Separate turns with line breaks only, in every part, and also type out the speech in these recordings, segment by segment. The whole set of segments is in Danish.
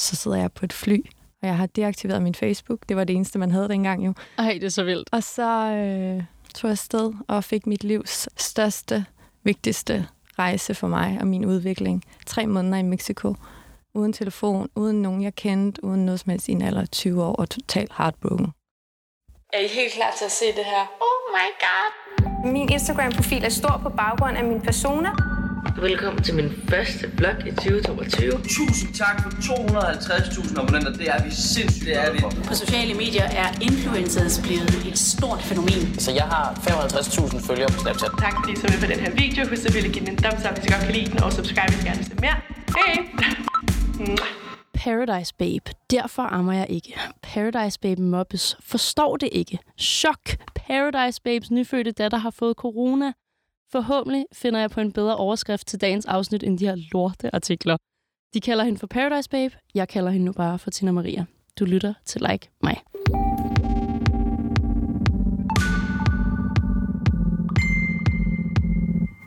så sidder jeg på et fly, og jeg har deaktiveret min Facebook. Det var det eneste, man havde dengang jo.
Ej, det er så vildt.
Og så øh, tog jeg sted og fik mit livs største, vigtigste rejse for mig og min udvikling. Tre måneder i Mexico, uden telefon, uden nogen jeg kendte, uden noget som helst i en alder af 20 år og totalt heartbroken.
Er I helt klar til at se det her?
Oh my god!
Min Instagram-profil er stor på baggrund af mine personer.
Velkommen til min første blog i 2022.
Tusind tak for 250.000 abonnenter. Det er vi sindssygt det er vi.
På sociale medier er influencers blevet et stort fænomen.
Så jeg har 55.000 følgere på Snapchat.
Tak fordi I så med på den her video. Husk at give den en thumbs up, hvis I godt kan lide den, og subscribe, hvis I gerne vil se mere. Hej!
Paradise Babe. Derfor ammer jeg ikke. Paradise Babe mobbes. Forstår det ikke. Chok. Paradise Babes nyfødte datter har fået corona. Forhåbentlig finder jeg på en bedre overskrift til dagens afsnit end de her lorte artikler. De kalder hende for Paradise Babe. Jeg kalder hende nu bare for Tina Maria. Du lytter til Like mig.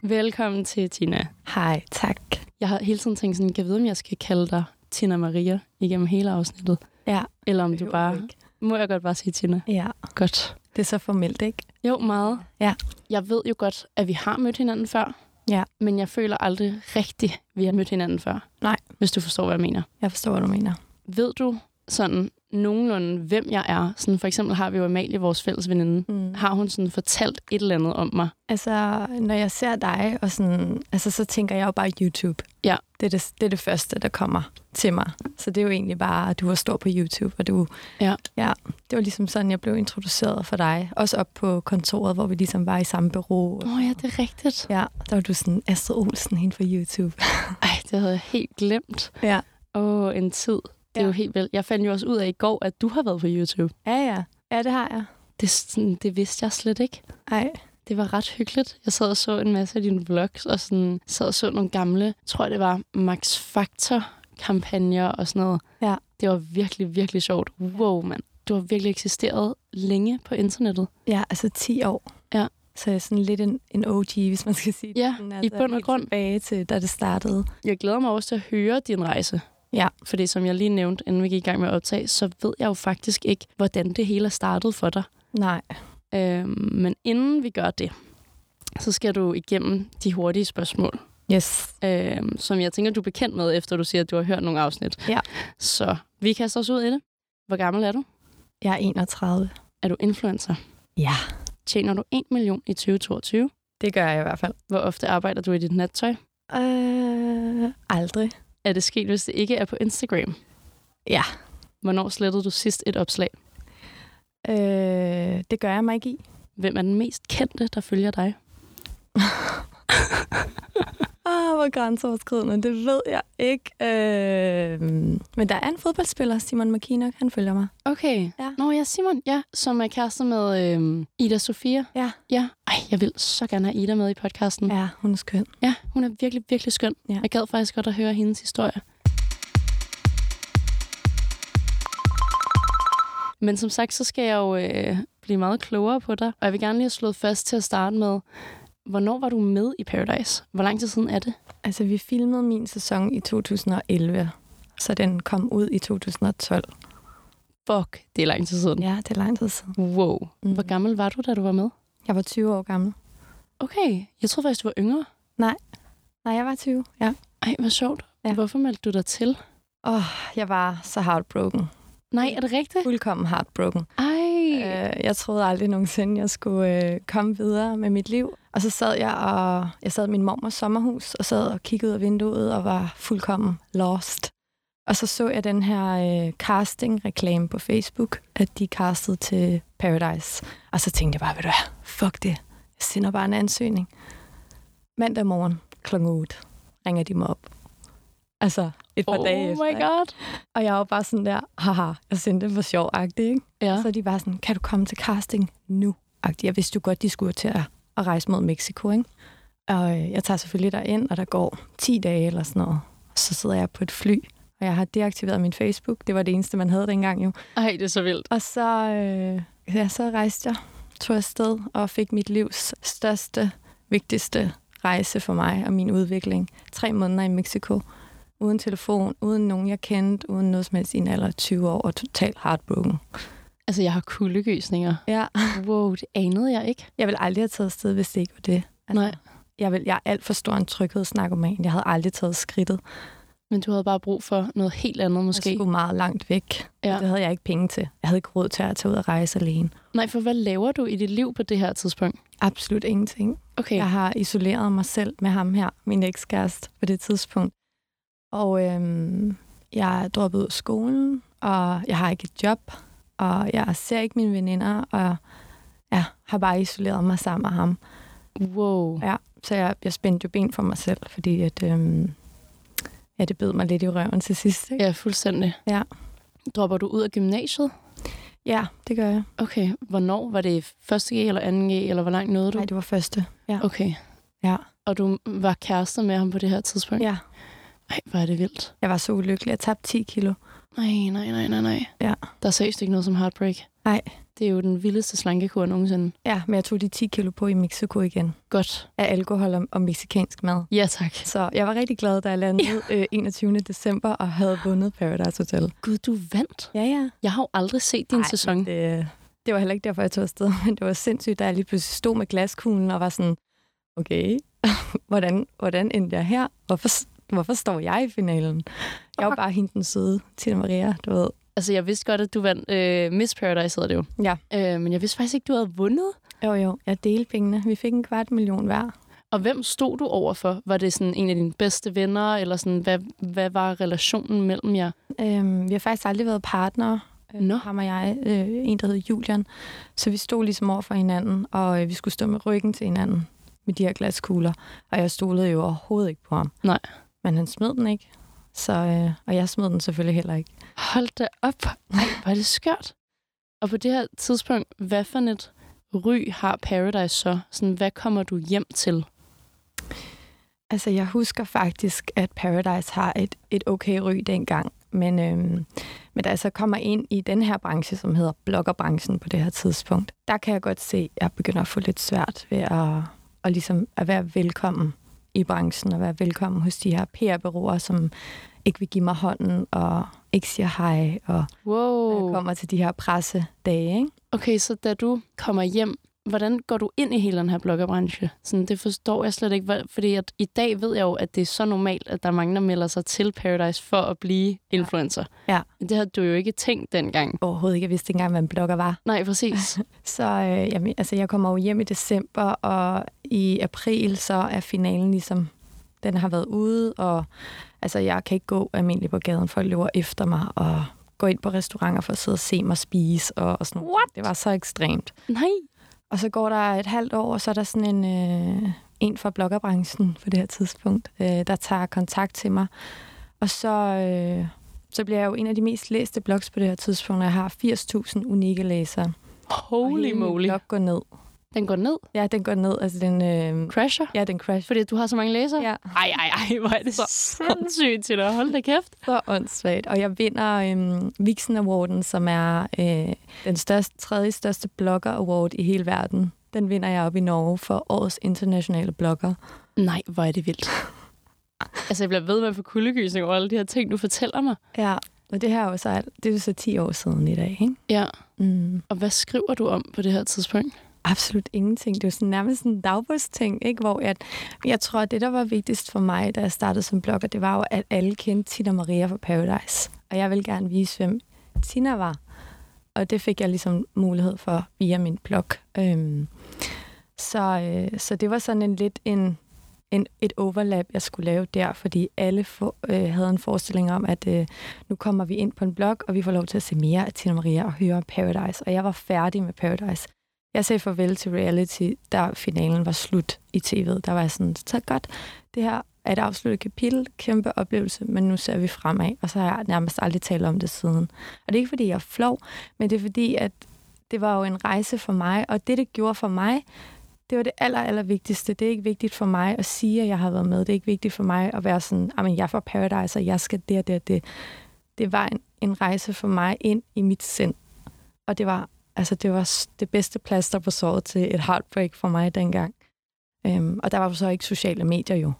Velkommen til, Tina.
Hej, tak.
Jeg har hele tiden tænkt sådan, kan jeg vide, om jeg skal kalde dig Tina Maria igennem hele afsnittet?
Ja.
Eller om du bare... Ikke. Må jeg godt bare sige Tina?
Ja.
Godt.
Det er så formelt, ikke?
Jo, meget.
Ja.
Jeg ved jo godt, at vi har mødt hinanden før.
Ja.
Men jeg føler aldrig rigtigt, at vi har mødt hinanden før.
Nej.
Hvis du forstår, hvad jeg mener.
Jeg forstår, hvad du mener.
Ved du sådan nogenlunde, hvem jeg er? Sådan for eksempel har vi jo Amalie, vores fælles veninde. Mm. Har hun sådan fortalt et eller andet om mig?
Altså, når jeg ser dig, og sådan, altså, så tænker jeg jo bare YouTube.
Ja.
Det er det, det er det første, der kommer til mig. Så det er jo egentlig bare, at du var stor på YouTube, og du...
Ja.
ja. det var ligesom sådan, jeg blev introduceret for dig. Også op på kontoret, hvor vi ligesom var i samme bureau.
Åh oh, ja, det er rigtigt.
Ja, der var du sådan Astrid Olsen hende fra YouTube.
Ej, det havde jeg helt glemt.
ja.
Åh, oh, en tid. Det er ja. jo helt vel. Jeg fandt jo også ud af i går, at du har været på YouTube.
Ja, ja. Ja, det har jeg.
Det, sådan, det vidste jeg slet ikke.
Nej.
Det var ret hyggeligt. Jeg sad og så en masse af dine vlogs, og sådan, sad og så nogle gamle, tror jeg det var Max Factor-kampagner og sådan noget.
Ja.
Det var virkelig, virkelig sjovt. Wow, mand. Du har virkelig eksisteret længe på internettet.
Ja, altså 10 år.
Ja.
Så jeg er sådan lidt en, en OG, hvis man skal sige
ja,
det.
Ja, altså, i bund og grund.
tilbage til, da det startede.
Jeg glæder mig også til at høre din rejse.
Ja.
Fordi som jeg lige nævnte, inden vi gik i gang med at optage, så ved jeg jo faktisk ikke, hvordan det hele er startet for dig.
Nej.
Øhm, men inden vi gør det, så skal du igennem de hurtige spørgsmål.
Yes.
Øhm, som jeg tænker, du er bekendt med, efter du siger, at du har hørt nogle afsnit.
Ja.
Så vi kaster os ud i det. Hvor gammel er du?
Jeg er 31.
Er du influencer?
Ja.
Tjener du 1 million i 2022?
Det gør jeg i hvert fald.
Hvor ofte arbejder du i dit nattøj?
Øh, aldrig.
Er det sket, hvis det ikke er på Instagram?
Ja.
Hvornår slettede du sidst et opslag?
Øh, det gør jeg mig ikke i.
Hvem er den mest kendte, der følger dig?
ah, hvor grænseoverskridende, det ved jeg ikke. Øh, men der er en fodboldspiller, Simon McKinnock, han følger mig.
Okay.
Ja.
Nå ja, Simon, ja, som er kærester med øhm, Ida Sofia.
Ja.
Ja. Ej, jeg vil så gerne have Ida med i podcasten.
Ja, hun er skøn.
ja hun er virkelig, virkelig skøn.
Ja.
Jeg gad faktisk godt at høre hendes historie. Men som sagt, så skal jeg jo øh, blive meget klogere på dig. Og jeg vil gerne lige have slået fast til at starte med, hvornår var du med i Paradise? Hvor lang tid siden er det?
Altså, vi filmede min sæson i 2011, så den kom ud i 2012.
Fuck, det er lang tid siden.
Ja, det er lang tid siden.
Wow.
Mm.
Hvor gammel var du, da du var med?
Jeg var 20 år gammel.
Okay, jeg troede faktisk, du var yngre.
Nej, jeg var 20, ja.
Ej, hvor sjovt.
Ja.
Ja. Hvorfor meldte du dig til?
Åh, oh, jeg var så heartbroken.
Nej, er det rigtigt?
Fuldkommen heartbroken.
Ej. Øh.
Øh, jeg troede aldrig nogensinde, jeg skulle øh, komme videre med mit liv. Og så sad jeg og jeg sad i min mormors sommerhus og sad og kiggede ud af vinduet og var fuldkommen lost. Og så så jeg den her øh, casting-reklame på Facebook, at de castede til Paradise. Og så tænkte jeg bare, ved du hvad, fuck det. Jeg sender bare en ansøgning. Mandag morgen kl. 8 ringer de mig op. Altså et par
Oh
dage efter.
my
ikke?
god.
Og jeg var bare sådan der, haha, jeg sendte det for sjov ikke?
Ja.
Så er de bare sådan, kan du komme til casting nu? Agtig. Jeg vidste jo godt, de skulle til at, at rejse mod Mexico, ikke? Og øh, jeg tager selvfølgelig derind, og der går 10 dage eller sådan noget. Så sidder jeg på et fly, og jeg har deaktiveret min Facebook. Det var det eneste, man havde dengang jo.
Ej, det er så vildt.
Og så, øh, ja, så rejste jeg, tog afsted og fik mit livs største, vigtigste rejse for mig og min udvikling. Tre måneder i Mexico, uden telefon, uden nogen, jeg kendte, uden noget som helst i en alder af 20 år, og totalt heartbroken.
Altså, jeg har kuldegysninger.
Ja.
Wow, det anede jeg ikke.
Jeg ville aldrig have taget afsted, hvis det ikke var det.
Nej.
Jeg, vil, jeg er alt for stor en tryghedsnarkoman. Jeg havde aldrig taget skridtet.
Men du havde bare brug for noget helt andet, måske.
Jeg skulle meget langt væk.
Ja.
Ja. Det havde jeg ikke penge til. Jeg havde ikke råd til at tage ud og rejse alene.
Nej, for hvad laver du i dit liv på det her tidspunkt?
Absolut ingenting.
Okay.
Jeg har isoleret mig selv med ham her, min ekskæreste, på det tidspunkt. Og øhm, jeg er droppet ud af skolen, og jeg har ikke et job, og jeg ser ikke mine veninder, og ja, har bare isoleret mig sammen med ham.
Wow.
Ja, så jeg, jeg spændte jo ben for mig selv, fordi at, øhm, ja, det bed mig lidt i røven til sidst. Ikke?
Ja, fuldstændig.
Ja.
Dropper du ud af gymnasiet?
ja, det gør jeg.
Okay. Hvornår? Var det 1.G eller 2.G, eller hvor langt nåede du?
Nej, det var første. Ja.
Okay.
Ja.
Og du var kærester med ham på det her tidspunkt?
ja.
Nej, hvor er det vildt.
Jeg var så ulykkelig. Jeg tabte 10 kilo.
Nej, nej, nej, nej, nej.
Ja.
Der er seriøst ikke noget som heartbreak.
Nej.
Det er jo den vildeste slankekur nogensinde.
Ja, men jeg tog de 10 kilo på i Mexico igen.
Godt.
Af alkohol og, og meksikansk mad.
Ja, tak.
Så jeg var rigtig glad, da jeg landede øh, 21. december og havde vundet Paradise Hotel.
Gud, du vandt.
Ja, ja.
Jeg har jo aldrig set din
Ej,
sæson.
Det, det var heller ikke derfor, jeg tog afsted, men det var sindssygt, da jeg lige pludselig stod med glaskuglen og var sådan, okay, hvordan, hvordan endte jeg her? Hvorfor, hvorfor står jeg i finalen? Jeg var bare hende den søde, Tina Maria, du ved.
Altså, jeg vidste godt, at du vandt øh, Miss Paradise, hedder det jo.
Ja.
Øh, men jeg vidste faktisk ikke, du havde vundet.
Jo, jo, jeg delte pengene. Vi fik en kvart million hver.
Og hvem stod du overfor? Var det sådan en af dine bedste venner, eller sådan, hvad, hvad var relationen mellem jer?
Øhm, vi har faktisk aldrig været partnere, øh,
Nå.
ham og jeg. Øh, en, der hed Julian. Så vi stod ligesom over for hinanden, og øh, vi skulle stå med ryggen til hinanden med de her glaskugler. Og jeg stolede jo overhovedet ikke på ham.
Nej.
Men han smed den ikke, så, øh, og jeg smed den selvfølgelig heller ikke.
Hold da op. Ej, var det skørt. Og på det her tidspunkt, hvad for et ry har Paradise så? Sådan, hvad kommer du hjem til?
Altså, jeg husker faktisk, at Paradise har et, et okay ry dengang. Men, øhm, men da jeg så kommer ind i den her branche, som hedder bloggerbranchen på det her tidspunkt, der kan jeg godt se, at jeg begynder at få lidt svært ved at, at, ligesom at være velkommen i branchen og være velkommen hos de her PR-byråer, som ikke vil give mig hånden og ikke siger hej, og når jeg
Wow.
kommer til de her pressedage. Ikke?
Okay, så da du kommer hjem, hvordan går du ind i hele den her bloggerbranche? Sådan, det forstår jeg slet ikke, hvor- fordi at i dag ved jeg jo, at det er så normalt, at der er mange, der melder sig til Paradise for at blive influencer.
Ja.
Men Det havde du jo ikke tænkt dengang.
Overhovedet ikke, jeg vidste ikke engang, hvad en blogger var.
Nej, præcis.
Så øh, jamen, altså, jeg kommer jo hjem i december, og i april så er finalen ligesom, den har været ude, og altså, jeg kan ikke gå almindeligt på gaden, folk løber efter mig, og gå ind på restauranter for at sidde og se mig spise, og, og sådan noget. What? Det var så ekstremt.
Nej.
Og så går der et halvt år, og så er der sådan en, øh, en fra bloggerbranchen på det her tidspunkt, øh, der tager kontakt til mig. Og så, øh, så bliver jeg jo en af de mest læste blogs på det her tidspunkt, og jeg har 80.000 unikke læsere. Og
Holy
hele min
moly.
Blog går ned.
Den går ned.
Ja, den går ned. Altså, den, øh,
Crasher.
ja, den crash.
Fordi du har så mange læsere?
Ja.
Ej, ej, ej, hvor er det sindssygt til dig. Hold da kæft.
Så åndssvagt. Og jeg vinder øhm, Vixen Awarden, som er øh, den største, tredje største blogger award i hele verden. Den vinder jeg op i Norge for årets internationale blogger.
Nej, hvor er det vildt. altså, jeg bliver ved med at få kuldegysning over alle de her ting, du fortæller mig.
Ja, og det her er jo så, alt- det er jo så 10 år siden i dag, ikke?
Ja.
Mm.
Og hvad skriver du om på det her tidspunkt?
Absolut ingenting. Det er jo sådan, nærmest en dagbogsting, ikke? Hvor jeg, jeg tror, at det, der var vigtigst for mig, da jeg startede som blogger, det var jo, at alle kendte Tina Maria fra Paradise. Og jeg ville gerne vise, hvem Tina var. Og det fik jeg ligesom mulighed for via min blog. Øhm, så, øh, så det var sådan en lidt en, en, et overlap, jeg skulle lave der, fordi alle for, øh, havde en forestilling om, at øh, nu kommer vi ind på en blog, og vi får lov til at se mere af Tina Maria og høre om Paradise. Og jeg var færdig med Paradise. Jeg sagde farvel til reality, da finalen var slut i tv'et. Der var jeg sådan, så godt, det her er et afsluttet kapitel, kæmpe oplevelse, men nu ser vi fremad. Og så har jeg nærmest aldrig talt om det siden. Og det er ikke, fordi jeg er flov, men det er fordi, at det var jo en rejse for mig, og det, det gjorde for mig, det var det aller, aller vigtigste. Det er ikke vigtigt for mig at sige, at jeg har været med. Det er ikke vigtigt for mig at være sådan, at jeg er fra Paradise, og jeg skal det og det og det. Det var en, en rejse for mig ind i mit sind. Og det var, altså, det var s- det bedste plaster på såret til et heartbreak for mig dengang. Øhm, og der var jo så ikke sociale medier jo.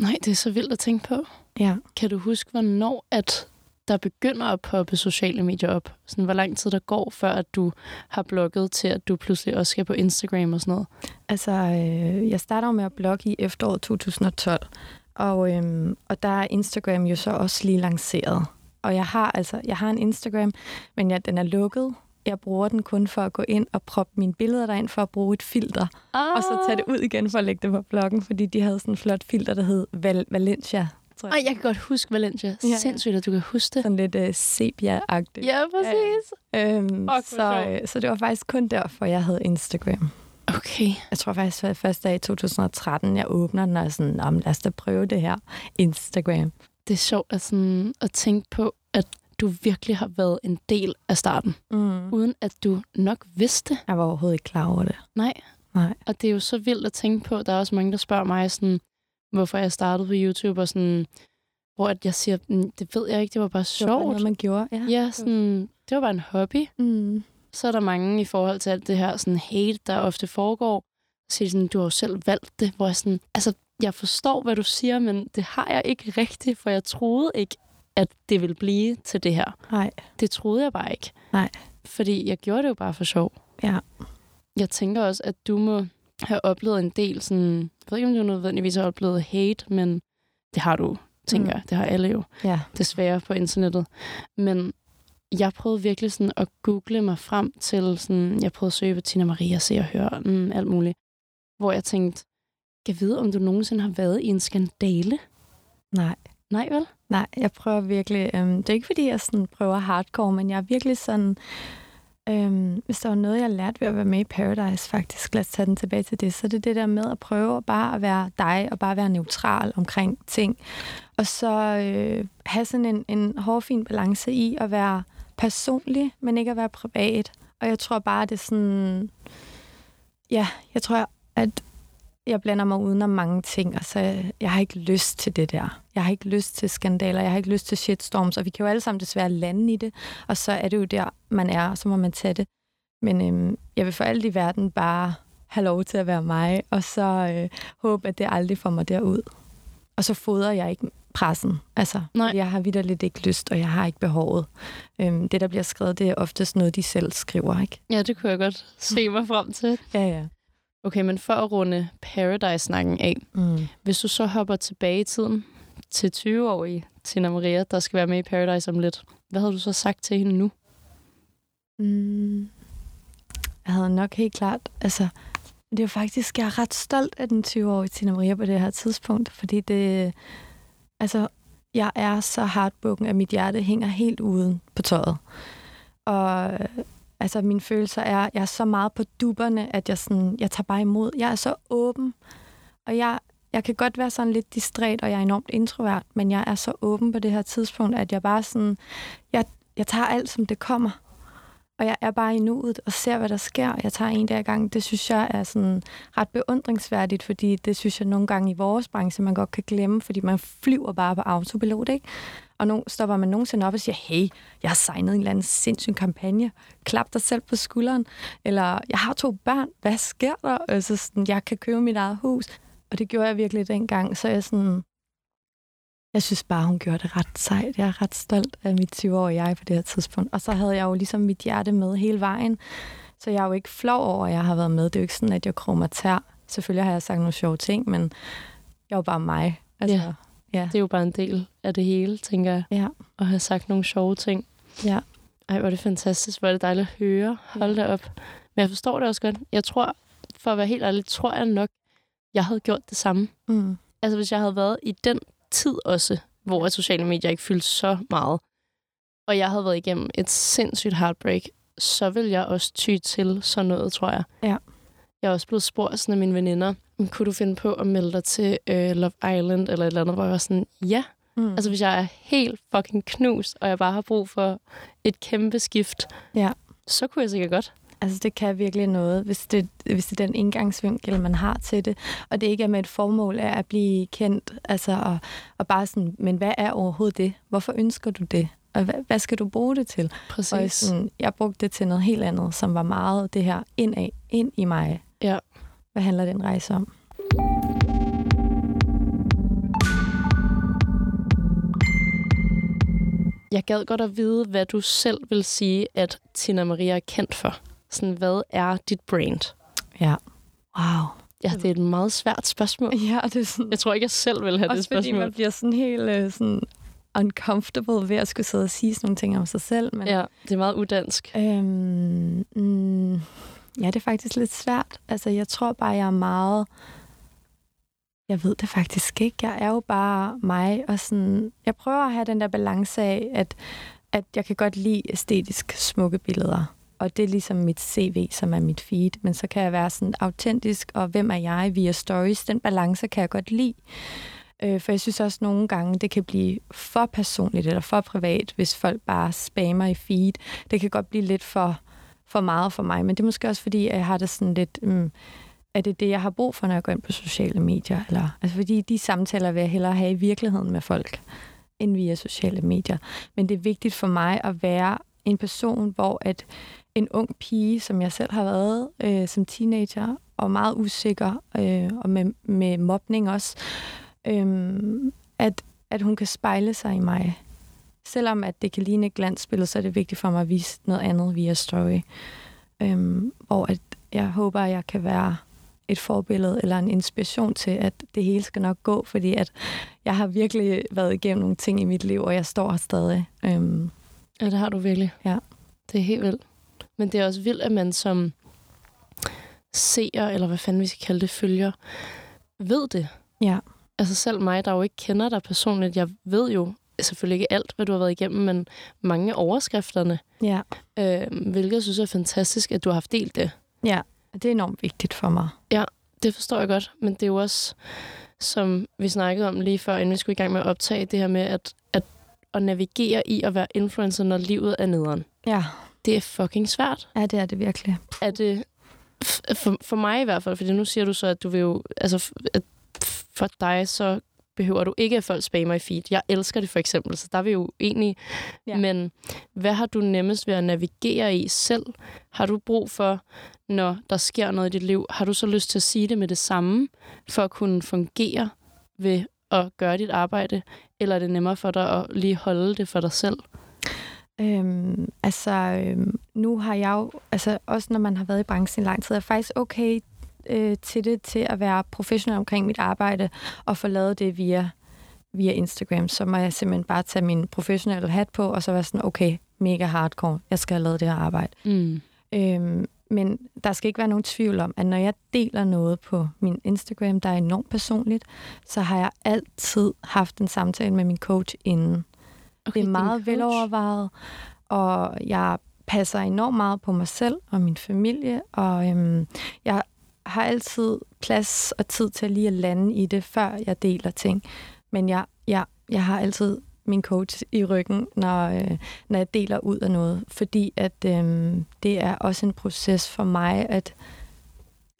Nej, det er så vildt at tænke på.
Ja.
Kan du huske, hvornår at der begynder at poppe sociale medier op? Sådan, hvor lang tid der går, før at du har blogget til, at du pludselig også skal på Instagram og sådan noget?
Altså, øh, jeg starter jo med at blogge i efteråret 2012, og, øhm, og der er Instagram jo så også lige lanceret. Og jeg har altså, jeg har en Instagram, men jeg, den er lukket. Jeg bruger den kun for at gå ind og proppe mine billeder derind for at bruge et filter.
Ah.
Og så tage det ud igen for at lægge det på bloggen, fordi de havde sådan en flot filter, der hed Val- Valencia. Tror jeg.
Ej, jeg kan godt huske Valencia.
Ja, ja.
Ja. Sindssygt, at du kan huske det.
Sådan lidt øh, sepia-agtigt.
Ja, præcis.
Øhm,
hvor
så,
sjovt.
øh, så det var faktisk kun derfor, jeg havde Instagram.
Okay.
Jeg tror faktisk, at første dag i 2013, jeg åbner den og er sådan, "Nå, men lad os da prøve det her Instagram.
Det er sjovt at, sådan, at tænke på, at du virkelig har været en del af starten,
Mm.
uden at du nok vidste.
Jeg var overhovedet ikke klar over det.
Nej.
Nej.
Og det er jo så vildt at tænke på. Der er også mange, der spørger mig, sådan, hvorfor jeg startede på YouTube, og sådan, hvor at jeg siger, "Mm, det ved jeg ikke, det var bare
Det var bare
sjovt.
noget, man gjorde. Ja.
Ja, sådan, det var bare en hobby.
Mm.
Så er der mange i forhold til alt det her sådan hate, der ofte foregår. Så siger de sådan, du har jo selv valgt det, hvor jeg sådan, altså, jeg forstår, hvad du siger, men det har jeg ikke rigtigt, for jeg troede ikke, at det ville blive til det her.
Nej.
Det troede jeg bare ikke.
Nej.
Fordi jeg gjorde det jo bare for sjov.
Ja.
Jeg tænker også, at du må have oplevet en del sådan... Jeg ved ikke, om du nødvendigvis har oplevet hate, men det har du, tænker
Mm.
mm. jeg. Det har alle jo,
Ja.
desværre, på internettet. Men jeg prøvede virkelig sådan at google mig frem til... sådan Jeg prøvede at søge på Tina Maria, se og høre, mm, alt muligt. Hvor jeg tænkte, kan vide, om du nogensinde har været i en skandale?
Nej.
Nej, vel?
Nej, jeg prøver virkelig... Øhm, det er ikke, fordi jeg sådan prøver hardcore, men jeg er virkelig sådan... Øhm, hvis der var noget, jeg lærte ved at være med i Paradise, faktisk, lad os tage den tilbage til det, så det er det der med at prøve bare at være dig, og bare være neutral omkring ting. Og så øh, have sådan en, en hårfin balance i at være personlig, men ikke at være privat. Og jeg tror bare, det er sådan... Ja, jeg tror, at jeg blander mig udenom mange ting, og så jeg har ikke lyst til det der. Jeg har ikke lyst til skandaler, jeg har ikke lyst til shitstorms, og vi kan jo alle sammen desværre lande i det, og så er det jo der, man er, og så må man tage det. Men øhm, jeg vil for alt i verden bare have lov til at være mig, og så øh, håbe, at det aldrig får mig derud. Og så fodrer jeg ikke pressen. Altså,
Nej.
jeg har vidderligt ikke lyst, og jeg har ikke behovet. Øhm, det, der bliver skrevet, det er oftest noget, de selv skriver, ikke?
Ja, det kunne jeg godt se mig frem til.
Ja, ja.
Okay, men for at runde Paradise-snakken af,
Mm.
hvis du så hopper tilbage i tiden til 20-årige Tina Maria, der skal være med i Paradise om lidt, hvad havde du så sagt til hende nu?
Mm. Jeg havde nok helt klart, altså, det er jo faktisk, jeg er ret stolt af den 20-årige Tina Maria på det her tidspunkt, fordi det, altså, jeg er så hardbukken, at mit hjerte hænger helt uden på tøjet. Og øh, altså, mine følelser er, jeg er så meget på duberne, at jeg, sådan, jeg tager bare imod. Jeg er så åben, og jeg, jeg kan godt være sådan lidt distræt, og jeg er enormt introvert, men jeg er så åben på det her tidspunkt, at jeg bare sådan, jeg, jeg tager alt, som det kommer og jeg er bare i nuet og ser, hvad der sker. Jeg tager en dag ad gangen. Det synes jeg er sådan ret beundringsværdigt, fordi det synes jeg nogle gange i vores branche, man godt kan glemme, fordi man flyver bare på autopilot, ikke? Og nu stopper man nogensinde op og siger, hey, jeg har signet en eller anden sindssyg kampagne. Klap dig selv på skulderen. Eller, jeg har to børn. Hvad sker der? Altså, sådan, jeg kan købe mit eget hus. Og det gjorde jeg virkelig dengang. Så jeg sådan... Jeg synes bare, hun gjorde det ret sejt. Jeg er ret stolt af mit 20-årige jeg på det her tidspunkt. Og så havde jeg jo ligesom mit hjerte med hele vejen. Så jeg er jo ikke flov over, at jeg har været med. Det er jo ikke sådan, at jeg krummer tær. Selvfølgelig har jeg sagt nogle sjove ting, men jeg var bare mig. Altså,
Ja.
ja. ja.
Det er jo bare en del af det hele, tænker jeg,
Ja.
at have sagt nogle sjove ting.
Ja.
Ej, hvor er det fantastisk, hvor er det dejligt at høre. Hold da op. Men jeg forstår det også godt. Jeg tror, for at være helt ærlig, tror jeg nok, jeg havde gjort det samme.
Mm.
altså hvis jeg havde været i den tid også, hvor at sociale medier ikke fyldte så meget, og jeg havde været igennem et sindssygt heartbreak, så ville jeg også ty til sådan noget, tror jeg.
Ja.
Jeg er også blevet spurgt sådan af mine veninder, "Men kunne du finde på at melde dig til øh, Love Island eller et eller andet, hvor jeg var sådan, ja.
Mm.
Altså hvis jeg er helt fucking knust, og jeg bare har brug for et kæmpe skift,
Ja.
så kunne jeg sikkert godt.
Altså, det kan virkelig noget, hvis det, hvis det er den indgangsvinkel, man har til det, og det ikke er med et formål af at blive kendt, altså, og, og bare sådan, men hvad er overhovedet det? Hvorfor ønsker du det? Og hvad, hvad skal du bruge det til?
Præcis.
Og jeg sådan, jeg brugte det til noget helt andet, som var meget det her indad, ind i mig.
Ja.
Hvad handler den rejse om?
Jeg gad godt at vide, hvad du selv vil sige, at Tina Maria er kendt for. Sådan, hvad er dit brand?
Ja. Wow.
Ja, det er et meget svært spørgsmål.
Ja, og det er sådan,
Jeg tror ikke, jeg selv vil have det
også fordi
spørgsmål.
man bliver sådan helt øh, sådan uncomfortable ved at skulle sidde og sige sådan nogle ting om sig selv. Men,
Ja, det er meget udansk.
Øhm, mm, ja, det er faktisk lidt svært. Altså, jeg tror bare, jeg er meget... Jeg ved det faktisk ikke. Jeg er jo bare mig, og sådan... Jeg prøver at have den der balance af, at, at jeg kan godt lide æstetisk smukke billeder. Og det er ligesom mit CV, som er mit feed. Men så kan jeg være sådan autentisk, og hvem er jeg via stories? Den balance kan jeg godt lide. Øh, for jeg synes også nogle gange, det kan blive for personligt eller for privat, hvis folk bare spammer i feed. Det kan godt blive lidt for, for meget for mig, men det er måske også fordi, at jeg har det sådan lidt... Mm, er det det, jeg har brug for, når jeg går ind på sociale medier? Eller, altså fordi de samtaler vil jeg hellere have i virkeligheden med folk, end via sociale medier. Men det er vigtigt for mig at være en person, hvor at en ung pige, som jeg selv har været øh, som teenager, og meget usikker, øh, og med, med mobning også, øhm, at, at hun kan spejle sig i mig. Selvom at det kan ligne et glansbillede, så er det vigtigt for mig at vise noget andet via story. Øhm, og at jeg håber, at jeg kan være et forbillede eller en inspiration til, at det hele skal nok gå, fordi at jeg har virkelig været igennem nogle ting i mit liv, og jeg står her stadig. Øhm,
Ja, det har du virkelig.
Ja.
Det er helt vildt. Men det er også vildt, at man som seer, eller hvad fanden vi skal kalde det, følger, ved det.
Ja.
Altså selv mig, der jo ikke kender dig personligt, jeg ved jo selvfølgelig ikke alt, hvad du har været igennem, men mange af overskrifterne,
ja,
øh, hvilket jeg synes er fantastisk, at du har haft delt det.
og det er enormt vigtigt for mig.
Det forstår jeg godt, men det er jo også, som vi snakkede om lige før, inden vi skulle i gang med at optage, det her med at, at, at navigere i at være influencer, når livet er nederen.
Ja,
Det er fucking svært.
ja det er det virkelig.
er det f- for, for mig i hvert fald, fordi nu siger du så, at du vil jo, altså f- at f- for dig så behøver du ikke, at folk spammer i feed. Jeg elsker det for eksempel, så der er vi jo enige.
Ja.
Ja. Men hvad har du nemmest ved at navigere i selv? Har du brug for, når der sker noget i dit liv, har du så lyst til at sige det med det samme, for at kunne fungere ved at gøre dit arbejde? Eller er det nemmere for dig at lige holde det for dig selv?
Øhm, altså, øhm, nu har jeg jo, altså også når man har været i branchen i lang tid, er jeg faktisk okay øh, til det, til at være professionel omkring mit arbejde, og få lavet det via, via Instagram. Så må jeg simpelthen bare tage min professionelle hat på, og så være sådan, okay, mega hardcore, jeg skal have lavet det her arbejde.
Mm.
Øhm, men der skal ikke være nogen tvivl om, at når jeg deler noget på min Instagram, der er enormt personligt, så har jeg altid haft en samtale med min coach inden. Okay, det er
din
meget
coach.
velovervejet, og jeg passer enormt meget på mig selv og min familie, og øhm, jeg har altid plads og tid til lige at lande i det, før jeg deler ting. Men jeg, jeg, jeg har altid min coach i ryggen, når, øh, når jeg deler ud af noget, fordi at øh, det er også en proces for mig at,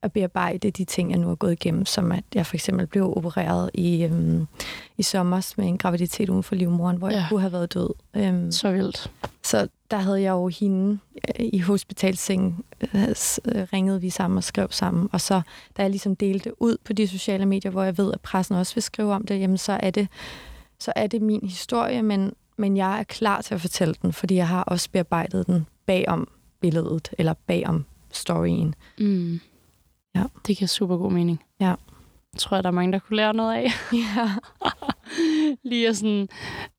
at bearbejde de ting, jeg nu har gået igennem, som at jeg for eksempel blev opereret i, øh, i sommer med en graviditet uden for livmoderen, hvor ja. jeg
Ja.
kunne have været død. Øh,
Så vildt.
så der havde jeg jo hende øh, i hospitalsengen, øh, s- øh, ringede vi sammen og skrev sammen. Og så, da jeg ligesom delte det ud på de sociale medier, hvor jeg ved, at pressen også vil skrive om det, jamen så er det, så er det min historie, men, men jeg er klar til at fortælle den, fordi jeg har også bearbejdet den bagom billedet, eller bagom storyen.
Mm.
Ja.
Det giver super god mening.
Ja.
Jeg tror, at der er mange, der kunne lære noget af.
Ja.
lige, at sådan,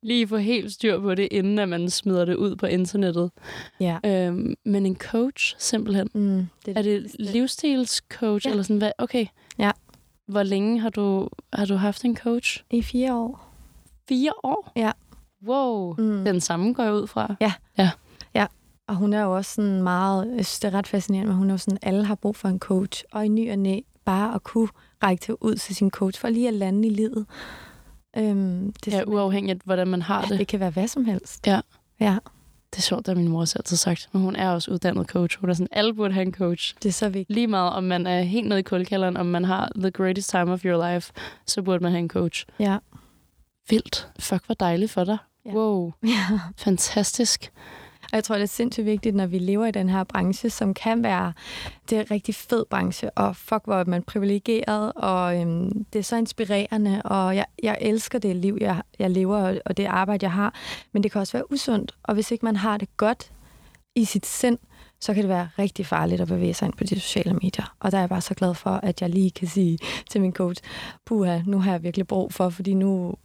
lige få helt styr på det, inden at man smider det ud på internettet.
ja.
Øhm, men en coach, simpelthen.
Mm, det,
Er det livsstilscoach?
Ja.
Ja. Eller sådan, hvad? Okay.
Ja.
Hvor længe har du, har du haft en coach?
I fire år.
Fire år?
Ja.
Wow.
Mm.
Den samme går jeg ud fra.
Og hun er jo også sådan meget, jeg synes det er ret fascinerende, men hun er jo sådan, alle har brug for en coach, og i ny og næ, bare at kunne række til ud til sin coach, for lige at lande i livet. Øhm, det,
Det er uafhængigt, hvordan man har det.
det kan være hvad som helst.
Ja.
Ja,
Det er sjovt, at min mor også altid har sagt, men hun er også uddannet coach. Hun er sådan, alle burde have en coach.
det er så vigtigt.
lige meget, om man er helt nede i kuldekælderen, om man har the greatest time of your life, så burde man have en coach.
Ja.
Vildt. Fuck, hvor dejligt for dig.
Ja.
Wow.
Ja.
Fantastisk.
Og jeg tror, det er sindssygt vigtigt, når vi lever i den her branche, som kan være det er en rigtig fed branche, og fuck, hvor er man privilegeret, og øhm, det er så inspirerende, og jeg, jeg elsker det liv, jeg, jeg lever, og, og det arbejde, jeg har. Men det kan også være usundt, og hvis ikke man har det godt i sit sind, så kan det være rigtig farligt at bevæge sig ind på de sociale medier. Og der er jeg bare så glad for, at jeg lige kan sige til min coach, puha, nu har jeg virkelig brug for, fordi nu,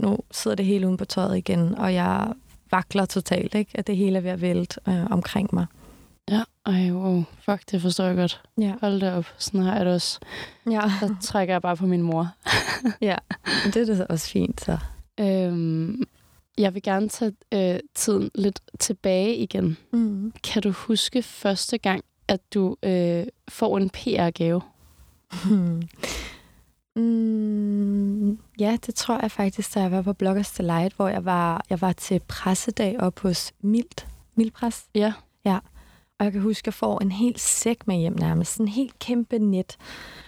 nu sidder det hele uden på tøjet igen, og jeg vakler totalt, ikke? at det hele er ved at vælte øh, omkring mig.
Ja, ej, wow. Fuck, det forstår jeg godt.
Ja.
Hold da op. Sådan har jeg det også.
Ja.
Så trækker jeg bare på min mor.
ja, men det er da også fint, så.
Øhm, jeg vil gerne tage øh, tiden lidt tilbage igen.
Mm.
Kan du huske første gang, at du øh, får en PR-gave?
Mm, ja, det tror jeg faktisk, da jeg var på Bloggers Delight, hvor jeg var, jeg var til pressedag op hos Milt, Mildpres.
Ja.
Og jeg kan huske, at jeg får en hel sæk med hjem nærmest. Sådan en helt kæmpe net.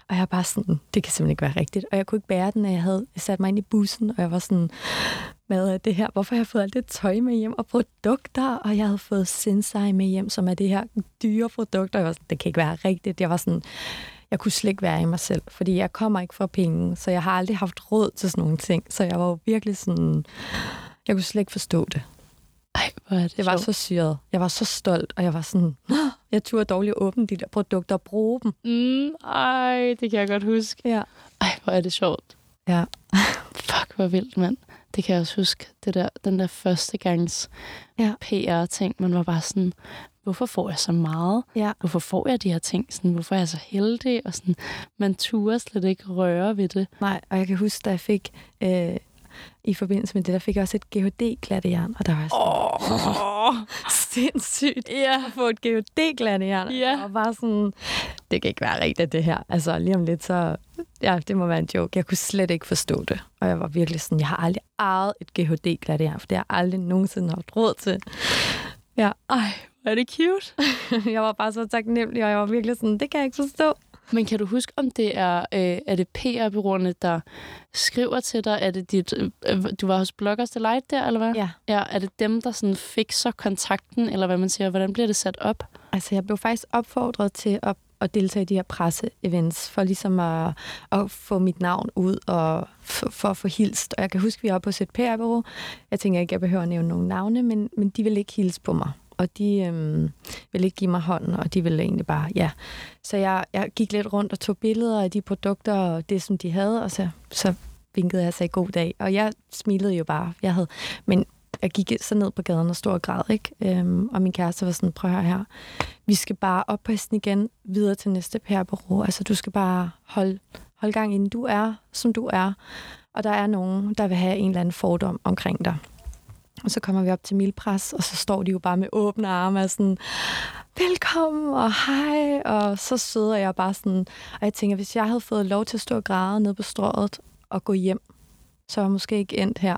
Og jeg er bare sådan, det kan simpelthen ikke være rigtigt. Og jeg kunne ikke bære den, og jeg havde sat mig ind i bussen, og jeg var sådan, hvad er øh, det her? Hvorfor har jeg fået alt det tøj med hjem og produkter? Og jeg havde fået Sensei med hjem, som er det her dyre produkt. Og jeg var sådan, det kan ikke være rigtigt. Jeg var sådan, jeg kunne slet ikke være i mig selv, fordi jeg kommer ikke fra penge, så jeg har aldrig haft råd til sådan nogle ting. Så jeg var jo virkelig sådan, jeg kunne slet ikke forstå det.
Ej, hvor er det,
Det var
sjovt.
så syret. Jeg var så stolt, og jeg var sådan, "Nå, jeg turde dårligt åbne de der produkter og bruge dem.
Mm, ej, det kan jeg godt huske.
Ja.
Ej, hvor er det sjovt.
Ja.
Fuck, hvor vildt, mand. Det kan jeg også huske. Det der, den der første gangs
Ja.
PR-ting, man var bare sådan, hvorfor får jeg så meget?
Ja.
Hvorfor får jeg de her ting? Sådan, hvorfor er jeg så heldig? Og sådan, man turde slet ikke røre ved det.
Nej, og jeg kan huske, da jeg fik, øh, i forbindelse med det, der fik jeg også et GHD-glattejern, og der var jeg sådan, oh. sindssygt
Ja.
at få et GHD-glattejern.
Ja.
Og bare sådan, det kan ikke være rigtigt, det her. Altså lige om lidt, så, ja, det må være en joke. Jeg kunne slet ikke forstå det. Og jeg var virkelig sådan, jeg har aldrig ejet et GHD-glattejern, for det har jeg aldrig nogensinde haft råd til. Ja.
Ej, hvor er det cute.
jeg var bare så taknemmelig, og jeg var virkelig sådan, det kan jeg ikke forstå.
Men kan du huske, om det er, øh, er det PR-byråerne, der skriver til dig? Er det dit, øh, du var hos Bloggers Delight der, eller hvad?
Ja.
ja. Er det dem, der sådan fikser kontakten, eller hvad man siger? Hvordan bliver det sat op?
Altså, jeg blev faktisk opfordret til at, at deltage i de her presseevents, for ligesom at, at få mit navn ud og f- for at få hilst. Og jeg kan huske, at vi var på et PR-bureau. Jeg tænker ikke, jeg behøver at nævne nogen navne, men, men de ville ikke hilse på mig. Og de øhm, ville ikke give mig hånden, og de ville egentlig bare, ja. Så jeg, jeg gik lidt rundt og tog billeder af de produkter og det, som de havde, og så, så vinkede jeg sig god dag. Og jeg smilede jo bare. Jeg havde, men jeg gik så ned på gaden og stod og græd, ikke? Øhm, og min kæreste var sådan, prøv at høre her vi skal bare op på hesten igen, videre til næste pærbureau. Altså, du skal bare holde, holde gang inden du er, som du er. Og der er nogen, der vil have en eller anden fordom omkring dig. Og så kommer vi op til Milpres, og så står de jo bare med åbne arme og sådan, velkommen og hej, og så sidder jeg bare sådan, og jeg tænker, hvis jeg havde fået lov til at stå og græde nede på strået og gå hjem, så var jeg måske ikke endt her,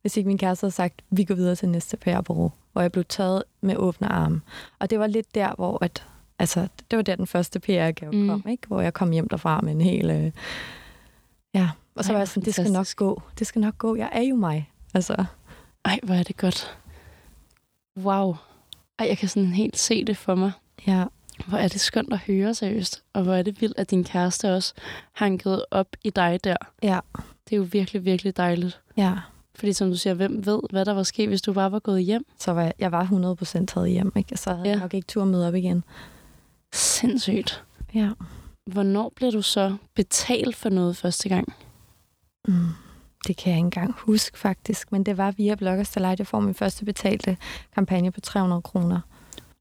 hvis ikke min kæreste havde sagt, vi går videre til næste pærebureau, hvor jeg blev taget med åbne arme. Og det var lidt der, hvor at, altså, det var der den første PR-gave
Mm.
mm. kom, ikke? hvor jeg kom hjem derfra med en hel... Øh... Ja, og så var
Ej, hvor
jeg sådan, det skal nok
fantastisk.
gå, det skal nok gå, jeg er jo mig. Altså,
Ej, hvor er det godt. Wow. Ej, jeg kan sådan helt se det for mig.
ja,
Hvor er det skønt at høre seriøst. Og hvor er det vildt, at din kæreste også hankede op i dig der.
ja,
Det er jo virkelig, virkelig dejligt.
ja.
Fordi som du siger, hvem ved, hvad der var sket, hvis du bare var gået hjem?
Så var jeg, jeg var 100% taget hjem, ikke? Og så havde
Ja.
ja. jeg nok ikke tur med op igen.
Sindssygt.
Ja.
Hvornår bliver du så betalt for noget første gang?
Mm. Det kan jeg ikke engang huske, faktisk. Men det var via Bloggers Delight, jeg får min første betalte kampagne på 300 kroner.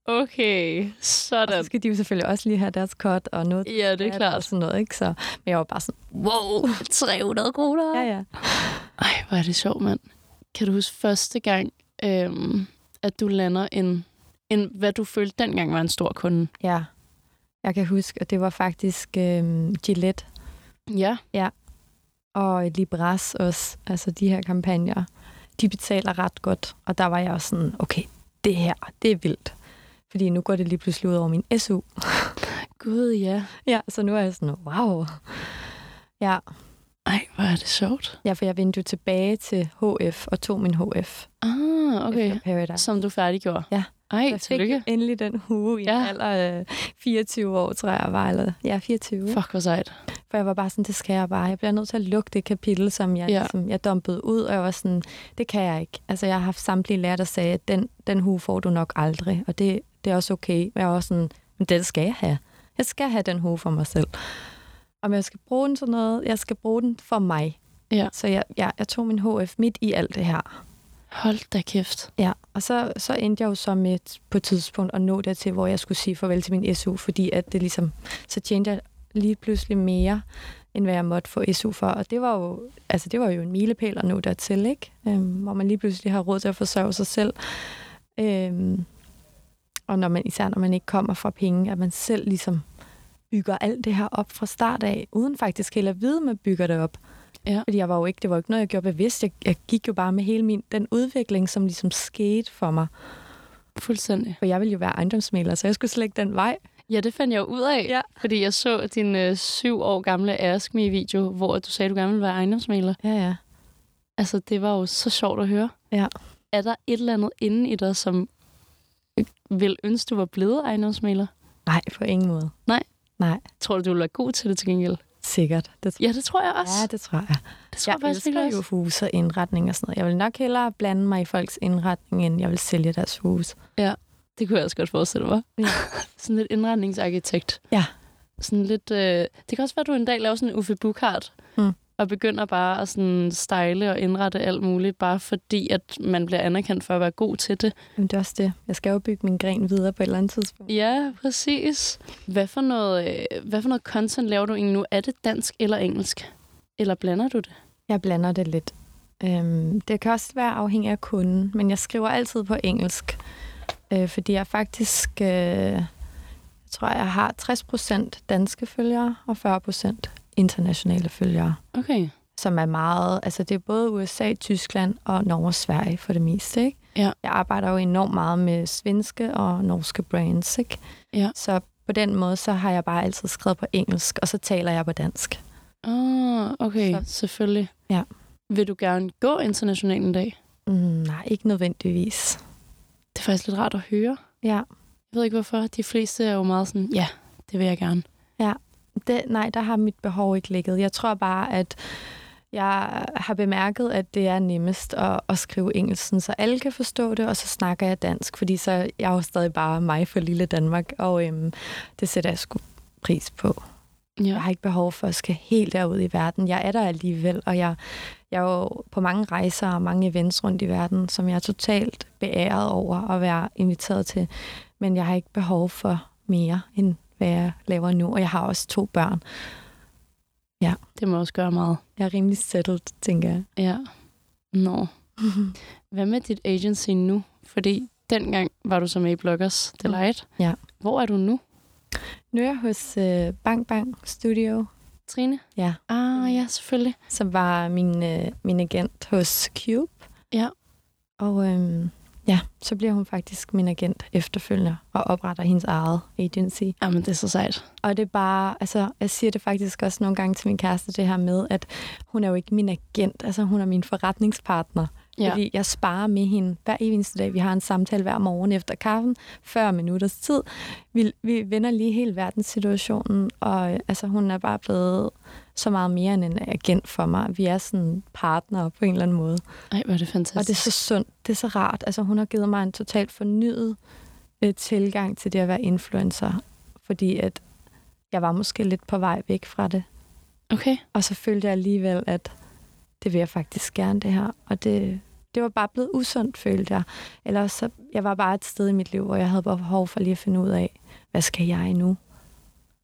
Okay,
Og så
sådan.
skal de jo selvfølgelig også lige have deres cut og noget.
Ja, det er
Og
klart.
sådan noget, ikke? Så, men jeg var bare sådan,
Wow, 300 kroner.
ja, ja.
Ej, hvor er det sjovt, mand. Kan du huske første gang, øhm, at du lander en, en, hvad du følte dengang var en stor kunde?
Ja, jeg kan huske, at det var faktisk øhm, Gillette
Ja.
og Libras også, altså de her kampagner, de betaler ret godt. Og der var jeg også sådan, okay, det her, det er vildt. Fordi nu går det lige pludselig ud over min SU.
Gud, ja.
Ja, så nu er jeg sådan, wow. Ja,
Ej, hvor er det sjovt.
ja for jeg vendte jo tilbage til HF og tog min HF
Ah, okay.
efter Paradise.
Som du færdiggjorde?
Ja.
Ej,
Jeg fik
tillykke.
endelig den hue i ja.
Ja.
en alder øh, 24 år, tror jeg, jeg var. Eller, ja, 24. For.
Fuck, hvor sejt.
for jeg var bare sådan, det skal jeg bare. Jeg bliver nødt til at lukke det kapitel, som jeg,
Ja.
ja. som jeg dumpede ud. Og jeg var sådan, det kan jeg ikke. Altså, jeg har haft samtlige lærere, der sagde, at den, den hue får du nok aldrig. Og det, det er også okay. Men jeg var også sådan, men den skal jeg have. Jeg skal have den hue for mig selv. Om jeg skal bruge den til noget, jeg skal bruge den for mig.
Ja.
Så jeg, jeg, jeg tog min HF midt i alt det her.
Hold da kæft.
Ja, og så, så endte jeg jo så med et- på et tidspunkt at nå dertil, hvor jeg skulle sige farvel til min SU, fordi at det ligesom, så tjente jeg lige pludselig mere, end hvad jeg måtte få SU for. Og det var jo, altså det var jo en milepæl at nå dertil, ikke? Øhm, hvor man lige pludselig har råd til at forsørge sig selv. Øhm, og når man, især når man ikke kommer fra penge, at man selv ligesom bygger alt det her op fra start af, uden faktisk heller at vide, at man bygger det op.
Ja.
Fordi jeg var jo ikke, det var jo ikke noget, jeg gjorde bevidst. Jeg, jeg gik jo bare med hele min, den udvikling, som ligesom skete for mig.
Fuldstændig.
For jeg ville jo være ejendomsmaler, så jeg skulle slet ikke den vej.
Ja, det fandt jeg jo ud af,
Ja.
fordi jeg så din øh, syv år gamle Ask Me-video, hvor du sagde, at du gerne ville være ejendomsmaler.
Ja, ja.
Altså, det var jo så sjovt at høre.
Ja.
Er der et eller andet inde i dig, som øh, vil ønske, du var blevet ejendomsmaler?
Nej, på ingen måde.
Nej.
Nej,
Tror du, du ville være god til det til gengæld?
sikkert. Det tror
Ja, det tror jeg også.
Ja, det tror jeg.
det tror
Jeg elsker
virkelig
jo huse og indretning og sådan noget. Jeg vil nok hellere blande mig i folks indretning, end jeg vil sælge deres hus.
Det kunne jeg også godt forestille mig.
Ja.
sådan lidt indretningsarkitekt.
Ja.
Sådan lidt, øh, det kan også være, at du en dag laver sådan en Uffe Bukart,
Mm.
og begynder bare at sådan style og indrette alt muligt, bare fordi, at man bliver anerkendt for at være god til det.
Men det er også det. Jeg skal jo bygge min gren videre på et eller andet tidspunkt.
Ja, præcis. Hvad for noget, øh, hvad for noget content laver du egentlig nu? Er det dansk eller engelsk? Eller blander du det?
Jeg blander det lidt. Øhm, det kan også være afhængig af kunden, men jeg skriver altid på engelsk, øh, fordi jeg faktisk, øh, jeg tror, jeg har 60% danske følgere og 40% internationale følgere,
Okay.
som er meget, altså det er både USA, Tyskland og Norge og Sverige for det meste, ikke?
Ja.
Jeg arbejder jo enormt meget med svenske og norske brands, ikke?
Ja.
Så på den måde, så har jeg bare altid skrevet på engelsk, og så taler jeg på dansk.
Ah, okay, så. selvfølgelig.
Ja.
Vil du gerne gå internationalt en dag?
Mm, nej, ikke nødvendigvis.
Det er faktisk lidt rart at høre.
Ja.
Jeg ved ikke hvorfor. De fleste er jo meget sådan, ja, det vil jeg gerne.
Det, nej, der har mit behov ikke ligget. Jeg tror bare, at jeg har bemærket, at det er nemmest at, at skrive engelsk, sådan, så alle kan forstå det, og så snakker jeg dansk, fordi så er jeg jo stadig bare mig for lille Danmark, og øhm, det sætter jeg sgu pris på.
Ja.
Jeg har ikke behov for at skal helt derud i verden. Jeg er der alligevel, og jeg, jeg er jo på mange rejser og mange events rundt i verden, som jeg er totalt beæret over at være inviteret til. Men jeg har ikke behov for mere, end hvad jeg laver nu. Og jeg har også to børn.
Det må også gøre meget.
Jeg er rimelig settled, tænker jeg.
Ja. Nå. Hvad med dit agency nu? Fordi dengang var du som A-bloggers Delight.
Ja.
Hvor er du nu,
Nu er jeg hos øh, Bang Bang Studio,
Trine?
Ja.
Ah, ja, selvfølgelig.
som var min, øh, min agent hos Cube.
Ja.
Og øhm, ja, så bliver hun faktisk min agent efterfølgende og opretter hendes eget agency.
Jamen, det er så sejt.
Og det er bare, altså, jeg siger det faktisk også nogle gange til min kæreste, det her med, at hun er jo ikke min agent, altså hun er min forretningspartner.
Ja.
Ja. Fordi jeg sparer med hende hver evig eneste dag. Vi har en samtale hver morgen efter kaffen, 40 minutters tid. Vi, vi vender lige hele verdenssituationen, og øh, altså, hun er bare blevet så meget mere end en agent for mig. Vi er sådan partnere på en eller anden måde.
Ej, hvor er det fantastisk.
Og det er så sundt, det er så rart. Altså, hun har givet mig en totalt fornyet øh, tilgang til det at være influencer, fordi at jeg var måske lidt på vej væk fra det.
Okay.
Og så følte jeg alligevel, at det vil jeg faktisk gerne, det her. Og det, det var bare blevet usundt, følte jeg. Eller så, jeg var bare et sted i mit liv, hvor jeg havde bare behov for lige at finde ud af, hvad skal jeg nu?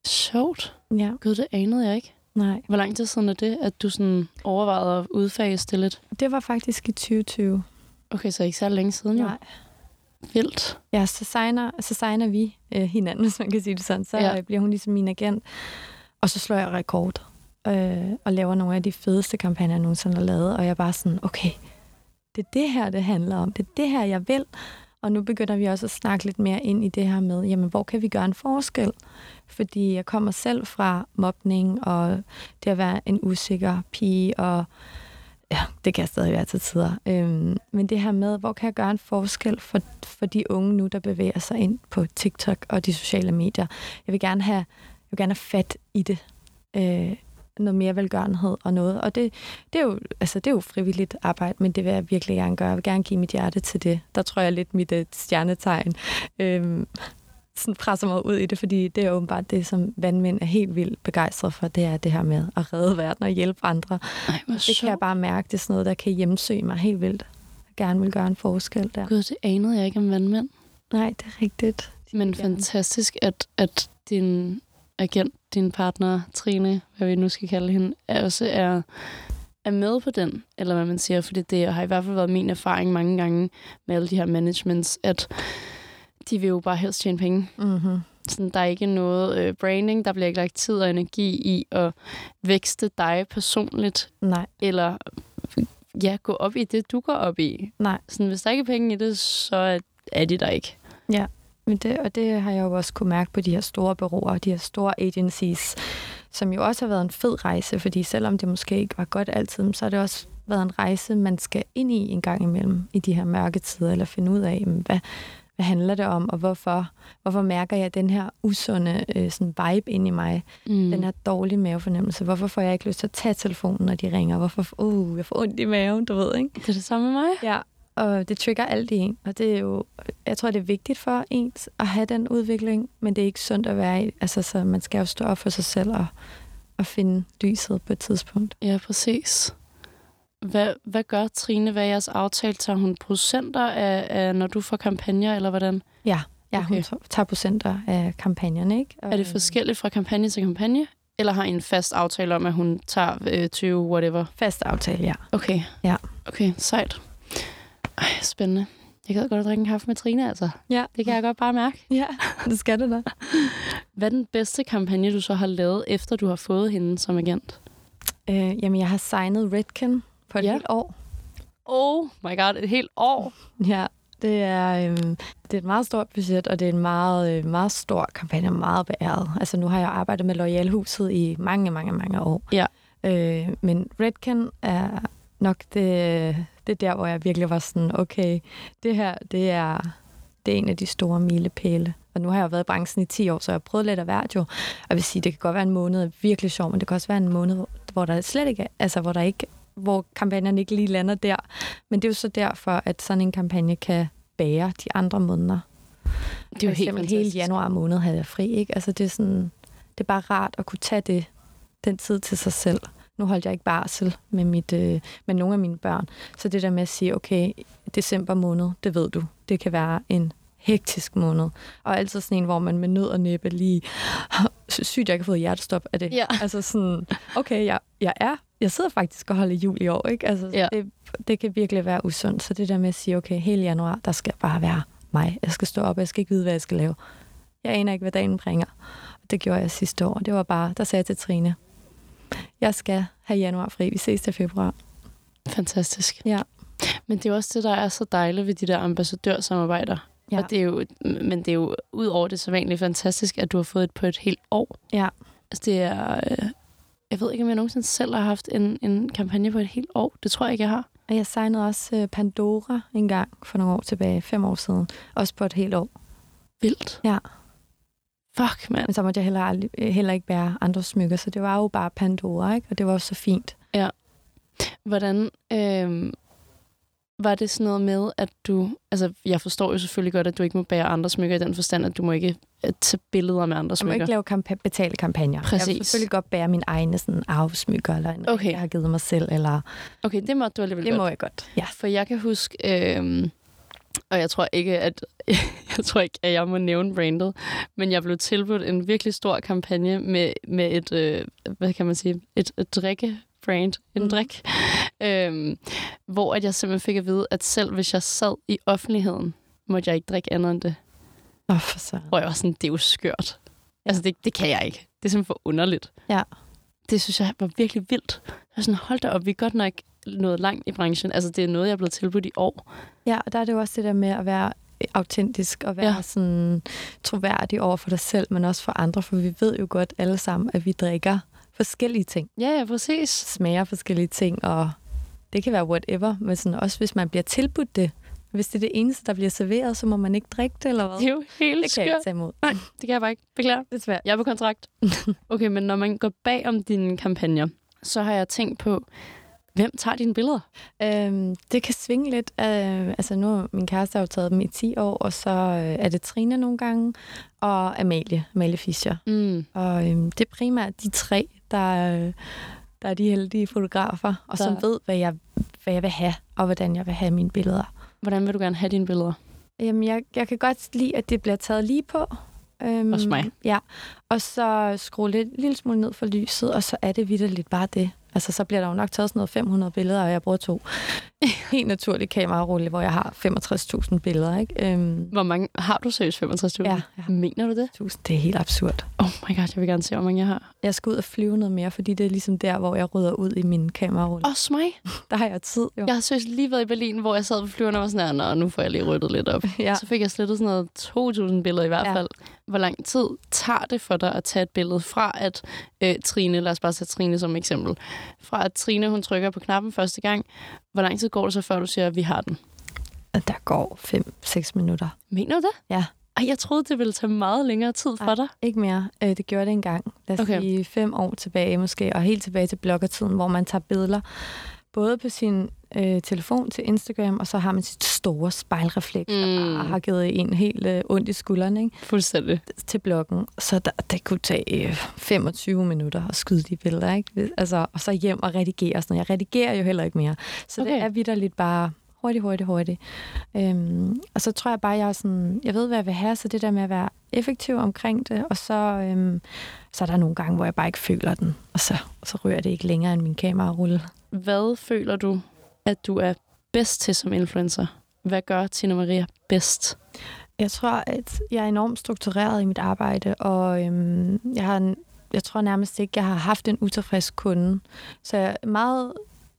Sjovt.
Ja,
Gud, det anede jeg ikke.
nej.
Hvor lang tid siden er det, at du sådan overvejede at udfase det lidt?
Det var faktisk i 2020.
Okay, så ikke så længe siden, jo.
Nej.
Vildt.
Ja, så signer, så signer vi øh, hinanden, hvis man kan sige det sådan. Så
Ja.
ja. bliver hun ligesom min agent. Og så slår jeg rekord øh, og laver nogle af de fedeste kampagner, jeg nogensinde har lavet. Og jeg er bare sådan, okay, det er det her, det handler om. Det er det her, jeg vil. Og nu begynder vi også at snakke lidt mere ind i det her med, jamen, hvor kan vi gøre en forskel? Fordi jeg kommer selv fra mobning og det at være en usikker pige og Ja, det kan jeg stadig være til tider. Øhm, men det her med, hvor kan jeg gøre en forskel for, for de unge nu, der bevæger sig ind på TikTok og de sociale medier. Jeg vil gerne have, jeg vil gerne have fat i det. Øh, noget mere velgørenhed og noget. Og det, det, er jo, altså, det er jo frivilligt arbejde, men det vil jeg virkelig gerne gøre. Jeg vil gerne give mit hjerte til det. Der tror jeg lidt mit øh, stjernetegn øhm, sådan presser mig ud i det, fordi det er åbenbart det, som vandmænd er helt vildt begejstret for, det er det her med at redde verden og hjælpe andre.
Ej, hvor
Det kan jeg
sjovt.
bare mærke, det er sådan noget, der kan hjemsøge mig helt vildt. Jeg gerne vil gøre en forskel der.
Gud, det anede jeg ikke om vandmænd.
Nej, det er rigtigt.
Men fantastisk, at, at din agent, din partner, Trine, hvad vi nu skal kalde hende, er også er, er med på den, eller hvad man siger, fordi det har i hvert fald været min erfaring mange gange med alle de her managements, at de vil jo bare helst tjene penge.
Mm-hmm.
Sådan, der er ikke noget øh, branding, der bliver ikke lagt tid og energi i at vækste dig personligt,
Nej,
eller ja, gå op i det, du går op i.
nej.
Sådan, hvis der ikke er penge i det, så er- er de der ikke.
Men det, og det har jeg jo også kunne mærke på de her store bureauer og de her store agencies, som jo også har været en fed rejse, fordi selvom det måske ikke var godt altid, så har det også været en rejse, man skal ind i en gang imellem i de her mørke tider, eller finde ud af, jamen, hvad, hvad handler det om, og hvorfor, hvorfor mærker jeg den her usunde øh, sådan vibe ind i mig, mm. den her dårlige mavefornemmelse, hvorfor får jeg ikke lyst til at tage telefonen, når de ringer, hvorfor, uh, jeg får ondt i maven, du ved, ikke?
Det er det samme med mig.
Ja, og det trigger alt i en, og det er jo, jeg tror, det er vigtigt for ens at have den udvikling, men det er ikke sundt at være i. Altså, så man skal jo stå op for sig selv og, og finde lyset på et tidspunkt.
Ja, præcis. Hvad, hvad gør Trine? Hvad er jeres aftale? Tager hun procenter, af, af, når du får kampagner, eller hvordan?
Ja, ja okay. hun
Okay.
t- tager procenter af kampagnerne, ikke? Og,
Er det
øh,
forskelligt fra kampagne til kampagne? Eller har I en fast aftale om, at hun tager øh, 20 whatever?
Fast aftale, ja.
Okay.
Ja.
Okay, sejt. Ej, spændende. Jeg gad godt at drikke en kaffe med Trine, altså.
Ja,
Det kan jeg godt bare mærke.
ja det skal det da.
Hvad er den bedste kampagne, du så har lavet, efter du har fået hende som agent?
Øh, jamen, jeg har signet Redken på et ja.
Ja.
helt år.
Oh my god, et helt år.
Ja, det er, øhm, det er et meget stort budget, og det er en meget, øh, meget stor kampagne, og meget beæret. Altså nu har jeg arbejdet med Loyalhuset i mange, mange, mange år.
Ja.
Øh, men Redken er nok det, det der, hvor jeg virkelig var sådan, okay, det her, det er, det er en af de store milepæle. Og nu har jeg jo været i branchen i 10 år, så jeg har prøvet lidt af hvert jo. Og jeg vil sige, det kan godt være en måned er virkelig sjov, men det kan også være en måned, hvor- hvor der slet ikke er, altså hvor der ikke hvor kampagnerne ikke lige lander der. Men det er jo så derfor, at sådan en kampagne kan bære de andre måneder.
Det
For
er jo Altså, helt
eksempel hele
fantastisk.
januar måned havde jeg fri, ikke? Altså det er sådan, det er bare rart at kunne tage det, den tid til sig selv. Nu holdt jeg ikke barsel med, mit, øh, med nogle af mine børn. Så det der med at sige, okay, december måned, det ved du, det kan være en hektisk måned. Og altid sådan en, hvor man med nød og næppe lige, sygt, jeg ikke har fået hjertestop af det.
Ja.
Altså sådan, okay, jeg, jeg er, jeg sidder faktisk og holder jul i år, ikke? Altså,
Ja.
det, det kan virkelig være usundt. Så det der med at sige, okay, hele januar, der skal jeg bare være mig. Jeg skal stå op, jeg skal ikke vide, hvad jeg skal lave. Jeg aner ikke, hvad dagen bringer. Og det gjorde jeg sidste år. Det var bare, der sagde jeg til Trine, jeg skal have januar fri. Vi ses til februar.
Fantastisk.
Ja.
Men det er jo også det, der er så dejligt ved de der ambassadørsamarbejder.
Ja.
Ja. Og det er jo, men det er jo ud over det så vanligt fantastisk, at du har fået et på et helt år.
Ja.
Altså det er... Øh, jeg ved ikke, om jeg nogensinde selv har haft en, en kampagne på et helt år. Det tror jeg ikke, jeg har.
Og jeg signede også øh, Pandora en gang for nogle år tilbage, fem år siden. Også på et helt år.
Vildt.
Ja.
Fuck, mand.
Men så måtte jeg heller, aldrig, øh, heller ikke bære andre smykker, så det var jo bare Pandora, ikke? Og det var jo så fint.
Hvordan øh, var det sådan noget med, at du... Altså, jeg forstår jo selvfølgelig godt, at du ikke må bære andre smykker i den forstand, at du må ikke øh, tage billeder med andre
Jeg må
smykker.
ikke lave kampa- betale kampagner. Jeg vil
Præcis.
selvfølgelig godt bære min egne sådan, arvesmykker, eller en ring,
Okay.
jeg har givet mig selv. Eller...
Okay, det må du alligevel godt.
jeg godt. Ja.
For jeg kan huske, øh, og jeg tror ikke, at jeg tror ikke, at jeg må nævne brandet, men jeg blev tilbudt en virkelig stor kampagne med, med et, øh, hvad kan man sige, et, et drikke brand, en
Mhm.
mm. drik, øhm, hvor at jeg simpelthen fik at vide, at selv hvis jeg sad i offentligheden, måtte jeg ikke drikke andet end det.
Nå, for så.
Hvor jeg var sådan, det er jo skørt. Altså, det, det kan jeg ikke. Det er simpelthen for underligt.
Ja.
Det synes jeg var virkelig vildt. Jeg var sådan, hold da op, vi er godt nok nået langt i branchen. Altså, det er noget, jeg er blevet tilbudt i år.
Ja, og der er det jo også det der med at være øh, autentisk og være ja.
Ja.
sådan troværdig over for dig selv, men også for andre, for vi ved jo godt alle sammen, at vi drikker forskellige ting,
Ja, ja, præcis.
smager forskellige ting, og det Det kan være whatever, men sådan, også hvis man bliver tilbudt det. Hvis det er det eneste, der bliver serveret, så må man ikke drikke det, eller hvad?
Det er jo helt
det kan jeg
skørt.
ikke tage imod.
Nej, det kan jeg bare ikke. Beklager.
Det er svært.
Jeg er på kontrakt. okay, men når man går bag om dine kampagner, så har jeg tænkt på, hvem tager dine billeder?
Øhm, det kan svinge lidt. Øh, altså nu, min kæreste har jo taget dem i 10 år, og så øh, er det Trine nogle gange, og Amalie, Amalie Fischer.
Mm.
Og øhm, det er primært de tre, der, øh, der er de heldige fotografer, og som
Der-
ved, hvad jeg, hvad jeg vil have, og hvordan jeg vil have mine billeder.
Hvordan vil du gerne have dine billeder?
Jamen, jeg, jeg kan godt lide, at det bliver taget lige på. Øhm,
Også mig.
Ja, og så skrue lidt lille smule ned for lyset, og så er det vidderligt bare det. Altså, så bliver der jo nok taget sådan noget 500 billeder, og jeg bruger to. Helt naturlig kamerarulle, hvor jeg har 65.000 billeder, ikke? Øhm,
Hvor mange har du seriøst? 65.000?
Ja, jeg har-
Mener du det?
1000, det er helt absurd.
Oh my god, jeg vil gerne se, hvor mange jeg har.
Jeg skal ud og flyve noget mere, fordi det er ligesom der, hvor jeg rydder ud i min kamerarulle.
Også mig.
Der har jeg tid, jo.
Jeg har seriøst lige været i Berlin, hvor jeg sad på flyveren og var sådan her, "Nå, nu får jeg lige ryddet lidt op.
Ja.
Så fik jeg slettet sådan noget 2.000 billeder i hvert
Ja.
ja. fald. Hvor lang tid tager det for dig at tage et billede fra, at øh, Trine, lad os bare tage Trine som eksempel, fra at Trine hun trykker på knappen første gang, hvor lang tid går det så, før du siger, at vi har den?
At der går 5-6 minutter.
Mener du det?
Ja.
Ej, jeg troede, det ville tage meget længere tid for
Ej.
dig.
Ikke mere. Øh, det gjorde det engang. Lad os okay.
Okay.
sige fem år tilbage måske, og helt tilbage til bloggertiden, hvor man tager billeder både på sin øh, telefon til Instagram, og så har man sit store spejlrefleks, mm. der
Mm.
bare har givet en helt øh, ondt i skulderen ikke?
Fuldstændig.
til bloggen. Så der, det kunne tage øh, 25 minutter at skyde de billeder. Ikke? Altså, og så hjem og redigere og sådan noget. Jeg redigerer jo heller ikke mere. Så okay. det
Okay.
er vidderligt bare hurtigt, hurtigt, hurtigt. Øhm, og så tror jeg bare, jeg er sådan, jeg ved, hvad jeg vil have, så det der med at være effektiv omkring det, og så, øhm, så er der nogle gange, hvor jeg bare ikke føler den, og så, så rører det ikke længere end min kamerarulle.
Hvad føler du, at du er bedst til som influencer? Hvad gør Tina Maria bedst?
Jeg tror, at jeg er enormt struktureret i mit arbejde, og øhm, jeg har en, jeg tror nærmest ikke, jeg har haft en utilfreds kunde. Så jeg er meget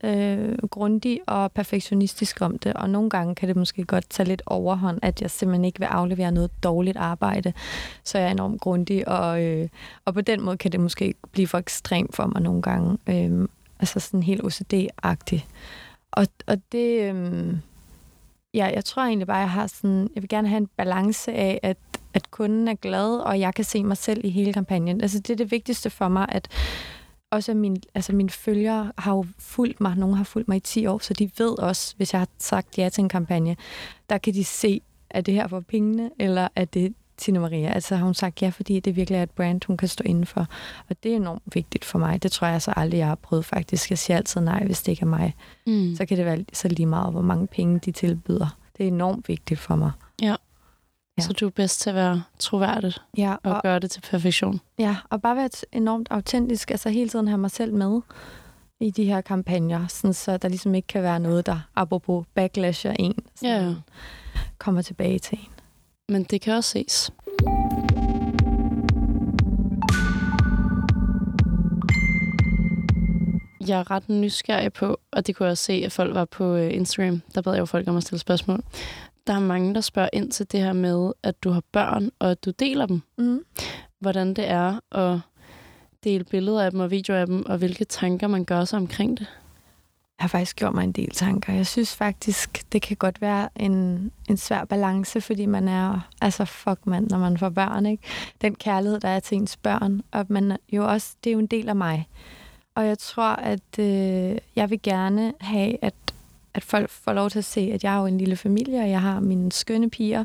øh, grundig og perfektionistisk om det, og nogle gange kan det måske godt tage lidt overhånd, at jeg simpelthen ikke vil aflevere noget dårligt arbejde. Så jeg er enormt grundig, og, øh, og på den måde kan det måske blive for ekstremt for mig nogle gange. Øh, altså sådan helt OCD-agtig. Og, og det... Øh, Ja, jeg tror egentlig bare, jeg har sådan, jeg vil gerne have en balance af, at, at kunden er glad, og jeg kan se mig selv i hele kampagnen. Altså, det er det vigtigste for mig, at også min, altså mine følgere har jo fulgt mig, nogen har fulgt mig i 10 år, så de ved også, hvis jeg har sagt ja til en kampagne, der kan de se, at det her for pengene, eller at det Tina Maria. Altså har hun sagt ja, fordi det virkelig er et brand, hun kan stå indenfor. Og det er enormt vigtigt for mig. Det tror jeg så aldrig, jeg har prøvet faktisk. Jeg siger altid nej, hvis det ikke er mig
Mm.
så kan det være så lige meget, hvor mange penge de tilbyder. Det er enormt vigtigt for mig. Ja.
Så du er bedst til at være troværdig
Ja,
og
og,
gøre det til perfektion.
ja, og bare være enormt autentisk, altså hele tiden have mig selv med i de her kampagner, sådan så der ligesom ikke kan være noget, der apropos backlasher en, sådan,
Ja.
kommer tilbage til en.
Men det kan også ses. Jeg er ret nysgerrig på, og det kunne jeg også se, at folk var på øh, Instagram. Der bad jeg jo folk om at stille spørgsmål. Der er mange, der spørger ind til det her med, at du har børn, og at du deler dem.
Mm.
Hvordan det er at dele billeder af dem og videoer af dem, og hvilke tanker man gør sig omkring det.
Jeg har faktisk gjort mig en del tanker. Jeg synes faktisk, det kan godt være en, en svær balance, fordi man er, altså fuck mand, når man får børn, ikke? Den kærlighed, der er til ens børn, og man er jo også, det er jo en del af mig. Og jeg tror, at øh, jeg vil gerne have, at, at folk får lov til at se, at jeg er jo en lille familie, og jeg har mine skønne piger,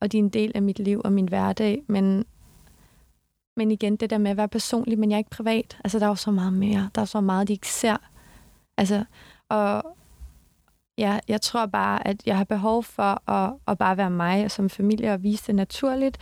og de er en del af mit liv og min hverdag, men men igen, det der med at være personlig, men jeg er ikke privat. Altså, der er jo så meget mere. Der er så meget, de ikke ser. Altså, og ja, jeg tror bare, at jeg har behov for at, at bare være mig som familie og vise det naturligt.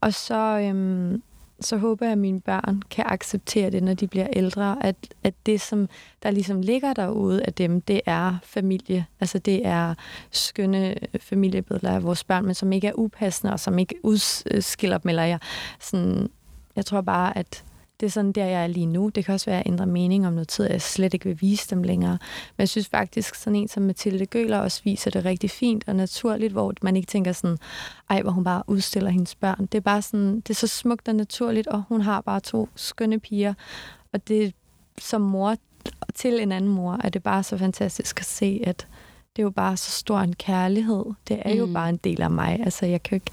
Og så, øhm, så håber jeg, at mine børn kan acceptere det, når de bliver ældre, at, at det, som der ligesom ligger derude af dem, det er familie. Altså det er skønne øh, familiebilleder af vores børn, men som ikke er upassende, og som ikke udskiller dem, eller jeg, sådan, jeg tror bare, at det er sådan der, jeg er lige nu. Det kan også være, at jeg ændrer mening om noget tid, at jeg slet ikke vil vise dem længere. Men jeg synes faktisk, sådan en som Mathilde Gøler også viser det rigtig fint og naturligt, hvor man ikke tænker sådan, ej, hvor hun bare udstiller hendes børn. Det er bare sådan, det er så smukt og naturligt, og hun har bare to skønne piger. Og det som mor til en anden mor, er det bare så fantastisk at se, at det er jo bare så stor en kærlighed. Det er jo
Mm.
mm. bare en del af mig. Altså, jeg kan jo ikke,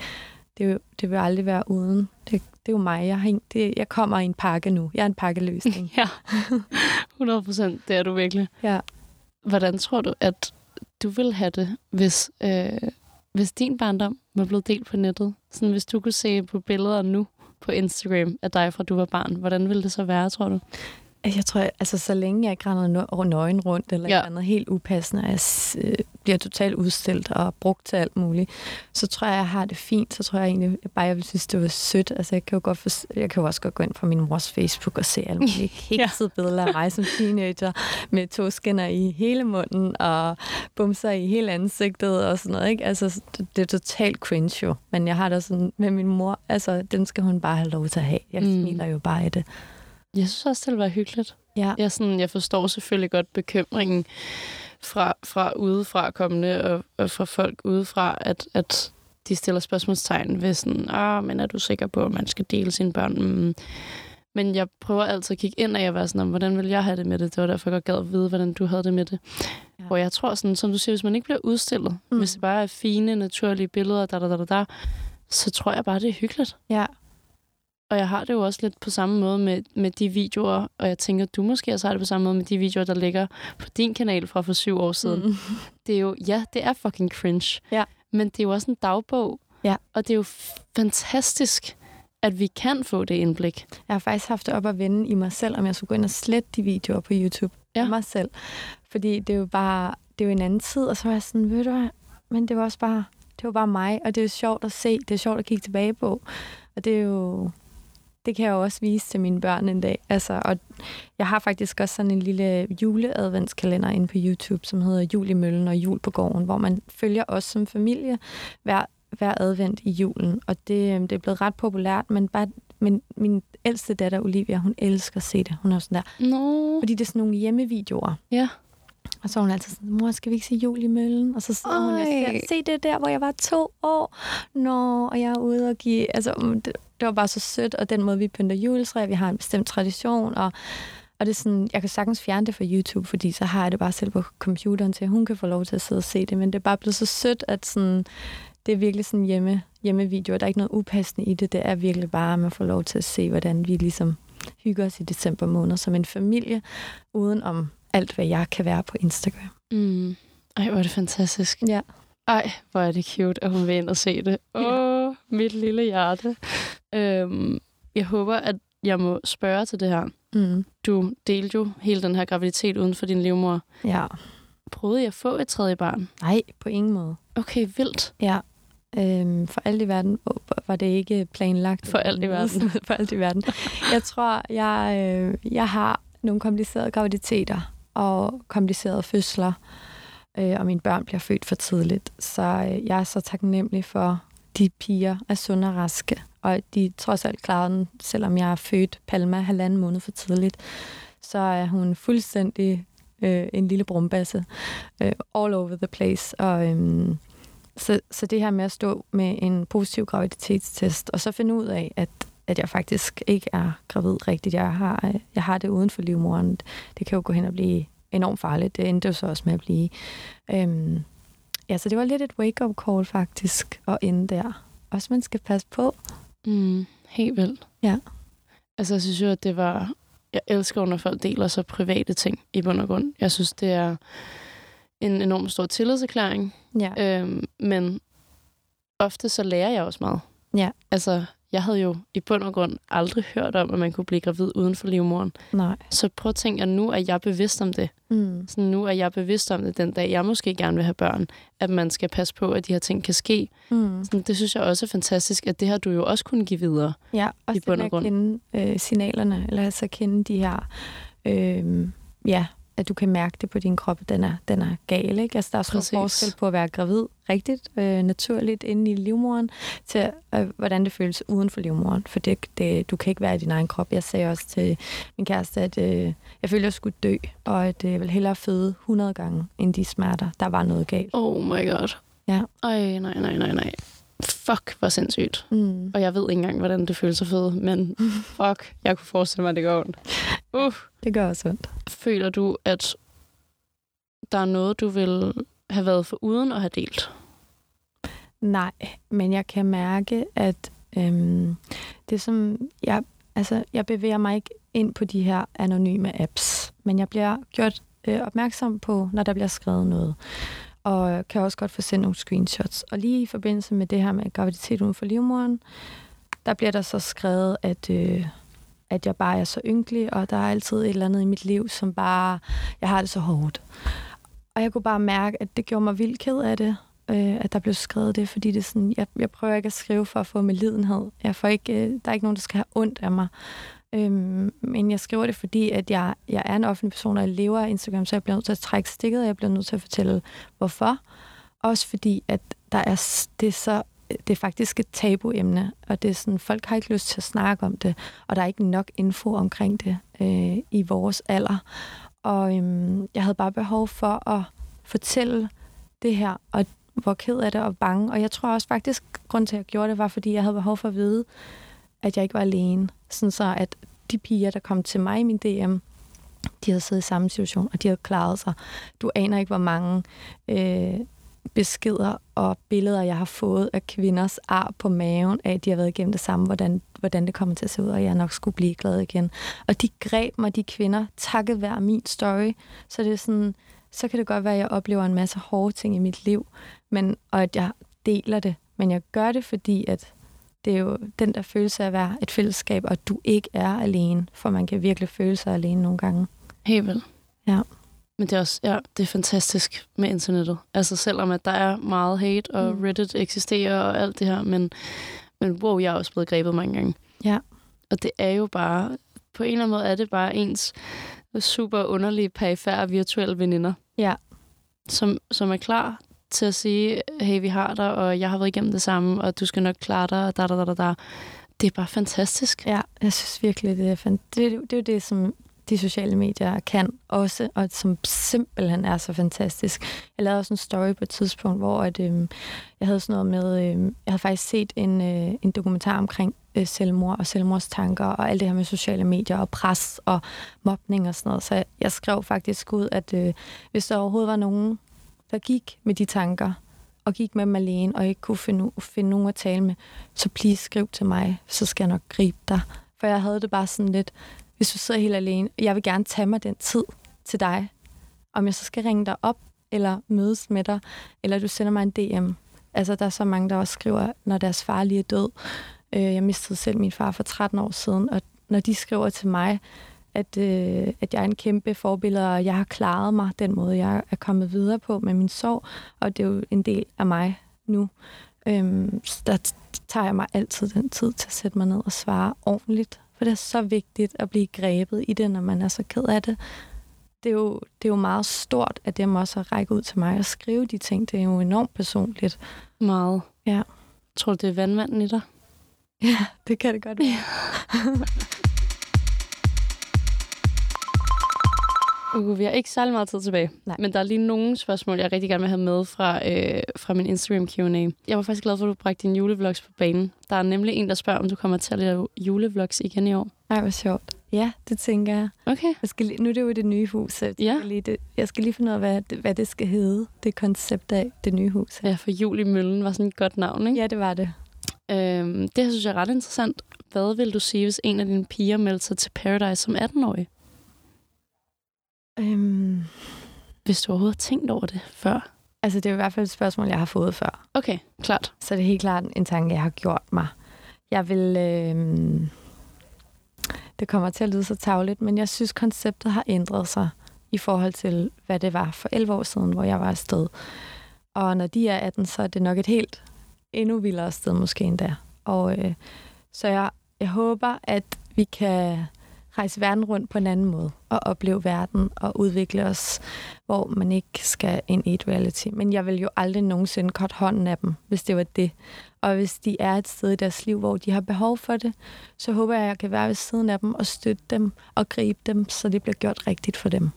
det, er jo, det vil aldrig være uden. Det, det er jo mig. Jeg, har en, det, jeg kommer i en pakke nu. Jeg er en pakkeløsning.
Ja, 100 procent. Det er du virkelig.
ja.
Hvordan tror du, at du ville have det, hvis, øh, hvis din barndom var blevet delt på nettet? Sådan, hvis du kunne se på billeder nu på Instagram af dig, fra du var barn. Hvordan ville det så være, tror du?
Jeg tror, jeg- altså så længe jeg ikke render nø- nøgen rundt, eller
Ja.
ja. noget helt upassende, og jeg s- øh, bliver totalt udstillet og brugt til alt muligt, så tror jeg, jeg har det fint. Så tror jeg egentlig bare, jeg vil synes, det var sødt. Altså, jeg kan jo, godt for, jeg kan jo også godt gå ind på min mors Facebook og se alle mulige kiksede ja. billeder af mig som teenager, med toskinner i hele munden, og bumser i hele ansigtet og sådan noget. Ikke? Altså, s- det- det er totalt cringe jo. Men jeg har det sådan med min mor. Altså, den skal hun bare have lov til at have. Jeg
Mm.
mm. smiler jo bare i det.
Jeg synes også, det ville være hyggeligt.
Ja.
Jeg, er sådan, jeg forstår selvfølgelig godt bekymringen fra, fra udefra kommende og, og fra folk udefra, at, at de stiller spørgsmålstegn ved sådan, ah, men er du sikker på, at man skal dele sine børn? Mm. Men jeg prøver altid at kigge ind og jeg være sådan, om, hvordan vil jeg have det med det? Det var derfor, jeg godt gad at vide, hvordan du havde det med det. Ja.
Ja.
Hvor jeg tror, sådan, som du siger, hvis man ikke bliver udstillet, mm.
Mm.
hvis det bare er fine, naturlige billeder, da, da, da, da, da, så tror jeg bare, det er hyggeligt.
Ja.
Og jeg har det jo også lidt på samme måde med, med de videoer, og jeg tænker, du måske også har det på samme måde med de videoer, der ligger på din kanal fra for syv år siden. Mm.
Mm.
Det er jo, ja, det er fucking cringe.
Ja.
Men det er jo også en dagbog.
Ja.
Og det er jo f- fantastisk, at vi kan få det indblik.
Jeg har faktisk haft det op at vende i mig selv, om jeg skulle gå ind og slette de videoer på YouTube
Ja.
ja. mig selv. Fordi det er jo bare, det er jo en anden tid, og så var jeg sådan, ved du hvad, men det var også bare, det var bare mig, og det er jo sjovt at se, det er sjovt at kigge tilbage på. Og det er jo, det kan jeg jo også vise til mine børn en dag. Altså, og jeg har faktisk også sådan en lille juleadventskalender inde på YouTube, som hedder Jul i Møllen og Jul på gården, hvor man følger os som familie hver, hver advent i julen. Og det, øhm, det er blevet ret populært, men bare men min ældste datter, Olivia, hun elsker at se det. Hun er jo sådan der.
Nå.
Fordi det er sådan nogle hjemmevideoer.
Ja.
Og så er hun altid sådan, mor, skal vi ikke se jul i møllen? Og så sidder hun og
Ej.
siger, se det der, hvor jeg var to år. Nå, og jeg er ude og give... Altså, mm, det, det var bare så sødt, og den måde, vi pynter juletræ, vi har en bestemt tradition, og og det er sådan, jeg kan sagtens fjerne det fra YouTube, fordi så har jeg det bare selv på computeren til, at hun kan få lov til at sidde og se det. Men det er bare blevet så sødt, at sådan, det er virkelig sådan hjemme, hjemmevideoer. Der er ikke noget upassende i det. Det er virkelig bare, at man får lov til at se, hvordan vi ligesom hygger os i december måned som en familie, uden om alt, hvad jeg kan være på Instagram.
Mm. Ej, hvor er det fantastisk.
Ja.
Ej, hvor er det cute, at hun vil ind og se det. Åh, oh, mit lille hjerte. Øhm, jeg håber, at jeg må spørge til det her.
Mm.
Du delte jo hele den her graviditet uden for din livmor.
Ja.
Prøvede jeg at få et tredje barn?
Nej, på ingen måde.
Okay, vildt.
Ja. Øhm, for alt i verden åh, var det ikke planlagt.
For alt i verden.
for alt i verden. Jeg tror, jeg, øh, jeg har nogle komplicerede graviditeter og komplicerede fødsler, øh, og mine børn bliver født for tidligt. Så øh, jeg er så taknemmelig for, de piger er sunde og raske, og de trods alt klarede den, selvom jeg er født Palma halvanden måned for tidligt. Så er hun fuldstændig øh, en lille brumbasse, øh, all over the place, og... Øh, så, så det her med at stå med en positiv graviditetstest, og så finde ud af, at, at jeg faktisk ikke er gravid rigtigt. Jeg har, øh, jeg har det uden for livmoderen. Det kan jo gå hen og blive enormt farligt. Det endte jo så også med at blive. Øhm, ja, så det var lidt et wake-up call faktisk at ende der. Også man skal passe på.
Mm, helt vildt.
Ja.
Altså, jeg synes jo, at det var... Jeg elsker, når folk deler så private ting i bund og grund. Jeg synes, det er en enorm stor tillidserklæring.
Ja.
Øhm, men ofte så lærer jeg også meget.
Ja.
Altså, jeg havde jo i bund og grund aldrig hørt om, at man kunne blive gravid uden for livmoren.
Nej.
Så prøv at tænke, at nu er jeg bevidst om det.
Mm.
Sådan, nu er jeg bevidst om det den dag, jeg måske gerne vil have børn. At man skal passe på, at de her ting kan ske.
Mm.
Sådan, det synes jeg også er fantastisk, at det har du jo også kunne give videre.
Ja, også det
bund
med
og
at
grund.
kende øh, signalerne, eller altså kende de her, øh, ja, at du kan mærke det på din krop, at den er, den er gal, ikke? Altså, der er
Præcis.
stor forskel på at være gravid rigtigt, øh, naturligt inde i livmoren, til øh, hvordan det føles uden for livmoren, for det, det, du kan ikke være i din egen krop. Jeg sagde også til min kæreste, at øh, jeg følte, at jeg skulle dø, og at øh, jeg ville hellere føde 100 gange, end de smerter. Der var noget galt.
Oh my god.
Ja.
Ej, nej, nej, nej, nej. Fuck, hvor sindssygt.
Mm.
Og jeg ved ikke engang, hvordan det føles så fedt, men fuck, jeg kunne forestille mig, at det går ondt. Uh,
Det gør også ondt.
føler du, at der er noget, du vil have været for uden at have delt?
Nej, men jeg kan mærke, at øhm, det som jeg, altså, jeg bevæger mig ikke ind på de her anonyme apps, men jeg bliver gjort øh, opmærksom på, når der bliver skrevet noget, og kan også godt få sendt nogle screenshots. Og lige i forbindelse med det her med graviditet uden for livmoderen, der bliver der så skrevet, at, øh, at jeg bare er så ynkelig, og der er altid et eller andet i mit liv, som bare, jeg har det så hårdt. Og jeg kunne bare mærke, at det gjorde mig vildt ked af det, øh, at der blev skrevet det, fordi det er sådan, jeg, jeg prøver ikke at skrive for at få med lidenhed. Jeg får ikke, øh, der er ikke nogen, der skal have ondt af mig. Øhm, men jeg skriver det, fordi at jeg, jeg er en offentlig person, og jeg lever af Instagram, så jeg bliver nødt til at trække stikket, og jeg bliver nødt til at fortælle, hvorfor. Også fordi, at der er, s- det, er så, det er faktisk et tabuemne, og det er sådan, folk har ikke lyst til at snakke om det, og der er ikke nok info omkring det øh, i vores alder. Og øhm, jeg havde bare behov for at fortælle det her, og hvor ked af det og bange. Og jeg tror også faktisk, grund til, at jeg gjorde det, var, fordi jeg havde behov for at vide, at jeg ikke var alene. Sådan så, at de piger, der kom til mig i min DM, de havde siddet i samme situation, og de havde klaret sig. Du aner ikke, hvor mange øh, beskeder og billeder, jeg har fået af kvinders ar på maven, af at de har været igennem det samme, hvordan, hvordan det kommer til at se ud, og jeg nok skulle blive glad igen. Og de greb mig, de kvinder, takket være min story. Så det er sådan, så kan det godt være, at jeg oplever en masse hårde ting i mit liv, men, og at jeg deler det. Men jeg gør det, fordi at det er jo den der følelse af at være et fællesskab, og at du ikke er alene, for man kan virkelig føle sig alene nogle gange.
Helt vel.
Ja.
Men det er også ja, det er fantastisk med internettet. Altså selvom at der er meget hate, og
Mm.
mm. Reddit eksisterer og alt det her, men, men wow, jeg er også blevet grebet mange gange.
Ja.
Og det er jo bare, på en eller anden måde er det bare ens super underlige perifære virtuelle veninder.
Ja.
Som, som er klar til at sige, hey, vi har dig, og jeg har været igennem det samme, og du skal nok klare dig, og da, da, da, da, da. Det er bare fantastisk.
Ja, jeg synes virkelig, det er, fan- det, er jo- det er jo det, som de sociale medier kan også, og som simpelthen er så fantastisk. Jeg lavede også en story på et tidspunkt, hvor at, øhm, jeg havde sådan noget med, øhm, jeg havde faktisk set en, øh, en dokumentar omkring øh, selvmord og selvmordstanker og alt det her med sociale medier og pres og mobning og sådan noget. Så jeg, jeg skrev faktisk ud, at øh, hvis der overhovedet var nogen, der gik med de tanker, og gik med dem alene, og ikke kunne finde, finde nogen at tale med, så please skriv til mig, så skal jeg nok gribe dig. For jeg havde det bare sådan lidt, hvis du sidder helt alene, jeg vil gerne tage mig den tid til dig, om jeg så skal ringe dig op, eller mødes med dig, eller du sender mig en DM. Altså, der er så mange, der også skriver, når deres far lige er død. Øh, jeg mistede selv min far for 13 år siden, og når de skriver til mig, at, øh, at jeg er en kæmpe forbillede, og jeg har klaret mig den måde, jeg er kommet videre på med min sorg, og det er jo en del af mig nu. Øhm, så der t- tager jeg mig altid den tid til at sætte mig ned og svare ordentligt, for det er så vigtigt at blive grebet i det, når man er så ked af det. Det er jo, det er jo meget stort, at dem også at række ud til mig og skrive de ting. Det er jo enormt personligt.
Meget.
Ja.
Tror du, det er vandmanden i dig?
Ja, det kan det godt være.
Uh, vi har ikke særlig meget tid tilbage.
Nej.
Men der er lige nogle spørgsmål, jeg rigtig gerne vil have med fra, øh, fra min Instagram Q&A. Jeg var faktisk glad for, at du bragte dine julevlogs på banen. Der er nemlig en, der spørger, om du kommer til at lave julevlogs igen i år.
Ej, hvor sjovt. Ja, det tænker jeg.
Okay.
jeg skal lige, nu er det jo i det nye hus, så jeg,
Ja.
skal lige, det, jeg skal lige finde ud af, hvad det, hvad det skal hedde, det koncept af det nye hus.
Ja, for Jul i Møllen var sådan et godt navn, ikke?
Ja, det var det.
Ja. Øhm, det her synes jeg er ret interessant. Hvad vil du sige, hvis en af dine piger meldte sig til Paradise som 18-årig?
Øhm,
Hvis du overhovedet har tænkt over det før.
altså, det er i hvert fald et spørgsmål, jeg har fået før.
Okay, klart.
så det er helt klart en tanke, jeg har gjort mig. Jeg vil... Øh, det kommer til at lyde så tavligt, men jeg synes, konceptet har ændret sig i forhold til, hvad det var for 11 år siden, hvor jeg var afsted. Og når de er 18, så er det nok et helt endnu vildere sted måske endda. Og øh, så jeg, jeg håber, at vi kan rejse verden rundt på en anden måde og opleve verden og udvikle os, hvor man ikke skal ind i et reality. Men jeg vil jo aldrig nogensinde kort hånden af dem, hvis det var det. Og hvis de er et sted i deres liv, hvor de har behov for det, så håber jeg, at jeg kan være ved siden af dem og støtte dem og gribe dem, så det bliver gjort rigtigt for dem.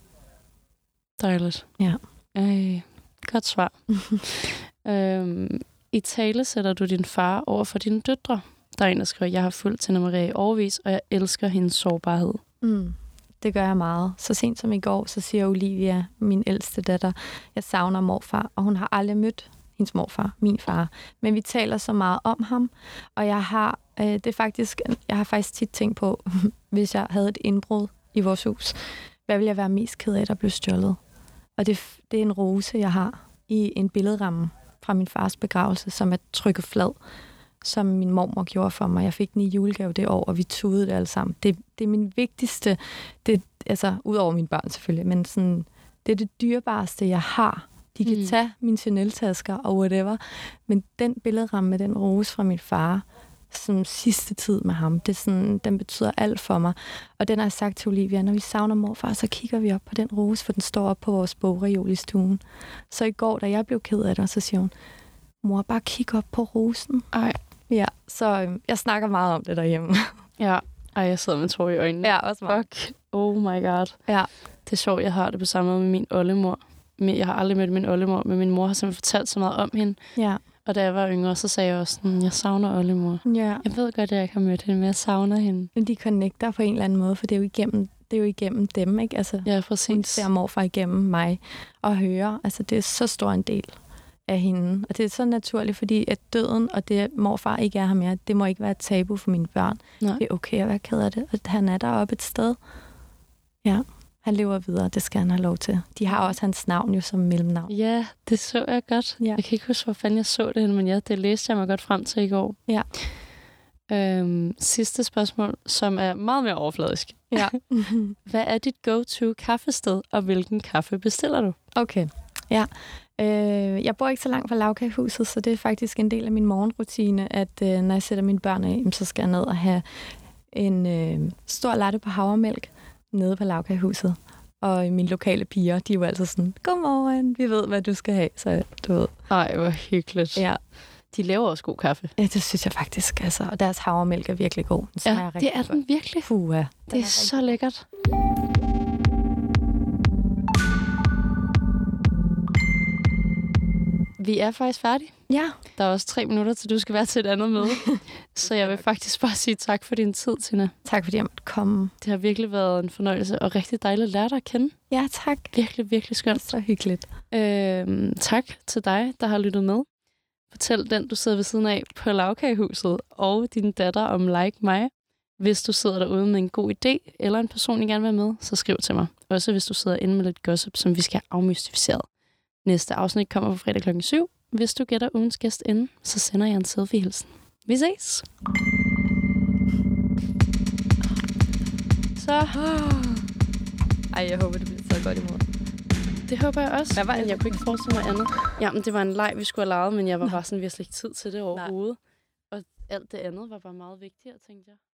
Dejligt.
Ja.
Ej, godt svar. øhm, I tale sætter du din far over for dine døtre. Der er en, der skriver, jeg har fulgt Tina Maria i overvis, og jeg elsker hendes sårbarhed.
Mm. Det gør jeg meget. Så sent som i går, så siger Olivia, min ældste datter, jeg savner morfar, og hun har aldrig mødt hendes morfar, min far. Men vi taler så meget om ham, og jeg har, øh, det er faktisk, jeg har faktisk tit tænkt på, hvis jeg havde et indbrud i vores hus, hvad ville jeg være mest ked af, der blev stjålet? Og det, det er en rose, jeg har i en billedramme fra min fars begravelse, som er trykket flad, som min mormor gjorde for mig. Jeg fik den i julegave det år, og vi tudede det alle sammen. Det, det er min vigtigste, det, altså udover mine børn selvfølgelig, men sådan, det er det dyrebareste, jeg har. De kan mm. tage mine Chanel-tasker og whatever, men den billedramme med den rose fra min far, som sidste tid med ham, det er sådan, den betyder alt for mig. Og den har jeg sagt til Olivia, når vi savner morfar, så kigger vi op på den rose, for den står op på vores bogreol i stuen. Så i går, da jeg blev ked af det, så siger hun, mor, bare kig op på rosen.
Ej.
Ja, så øhm, jeg snakker meget om det derhjemme.
Ja. Ej, jeg sidder med tårer i øjnene.
ja, også meget.
Fuck. Oh my god.
Ja.
Det er sjovt, jeg har det på samme måde med min oldemor. Men Jeg har aldrig mødt min oldemor, men min mor har simpelthen fortalt så meget om hende.
Ja.
Og da jeg var yngre, så sagde jeg også sådan, jeg savner oldemor.
ja.
Jeg ved godt, at jeg ikke har mødt hende, men jeg savner hende.
Men de connecter på en eller anden måde, for det er jo igennem, det er jo igennem dem, ikke? Altså,
Ja,
hun
præcis.
ser morfar igennem mig og hører. Altså, det er så stor en del af hende. Og det er så naturligt, fordi at døden og det, at morfar ikke er her mere, det må ikke være et tabu for mine børn.
Nej.
Det er okay at være ked af det, og han er deroppe et sted. Ja, han lever videre, det skal han have lov til. De har også hans navn jo som mellemnavn.
Ja, det så jeg godt.
Ja.
Ja. Jeg kan ikke huske, hvor fanden jeg så det, henne, men ja, det læste jeg mig godt frem til i går.
Ja.
Øhm, sidste spørgsmål, som er meget mere overfladisk.
Ja.
Hvad er dit go-to kaffested, og hvilken kaffe bestiller du?
Okay, ja. Øh, jeg bor ikke så langt fra lavkagehuset, så det er faktisk en del af min morgenrutine, at øh, når jeg sætter mine børn af, jamen, så skal jeg ned og have en øh, stor latte på havremælk nede på lavkagehuset. Og mine lokale piger, de er jo altid sådan, godmorgen, vi ved, hvad du skal have, så du ved.
Ej, hvor hyggeligt.
Ja,
De laver også god kaffe.
ja det synes jeg faktisk, altså. Og deres havremælk er virkelig god. Den smager
Ja,
rigtig
det er den virkelig.
Puha. Den
Det er
rigtig
så lækkert. Vi er faktisk færdige.
Ja,
Der er også tre minutter, til du skal være til et andet møde. så jeg vil faktisk bare sige tak for din tid, Tina.
tak fordi jeg måtte komme.
Det har virkelig været en fornøjelse, og rigtig dejligt at lære dig at kende.
Ja, tak.
Virkelig, virkelig skønt.
Så hyggeligt.
Øhm, tak til dig, der har lyttet med. Fortæl den, du sidder ved siden af på lavkagehuset, og din datter om Like Mig. Hvis du sidder derude med en god idé, eller en person, I gerne vil være med, så skriv til mig. Også hvis du sidder inde med lidt gossip, som vi skal have afmystificeret. Næste afsnit kommer på fredag kl. 7. Hvis du gætter ugens gæst inden, så sender jeg en selfie-hilsen. Vi ses! Så,
Ej, jeg håber, det bliver så godt imod.
det håber jeg også.
Hvad var
Men jeg kunne ikke forestille mig andet. Jamen, det var en leg, vi skulle have leget, men jeg var bare sådan, vi har slet ikke tid til det overhovedet. Og alt det andet var bare meget vigtigere, tænkte jeg.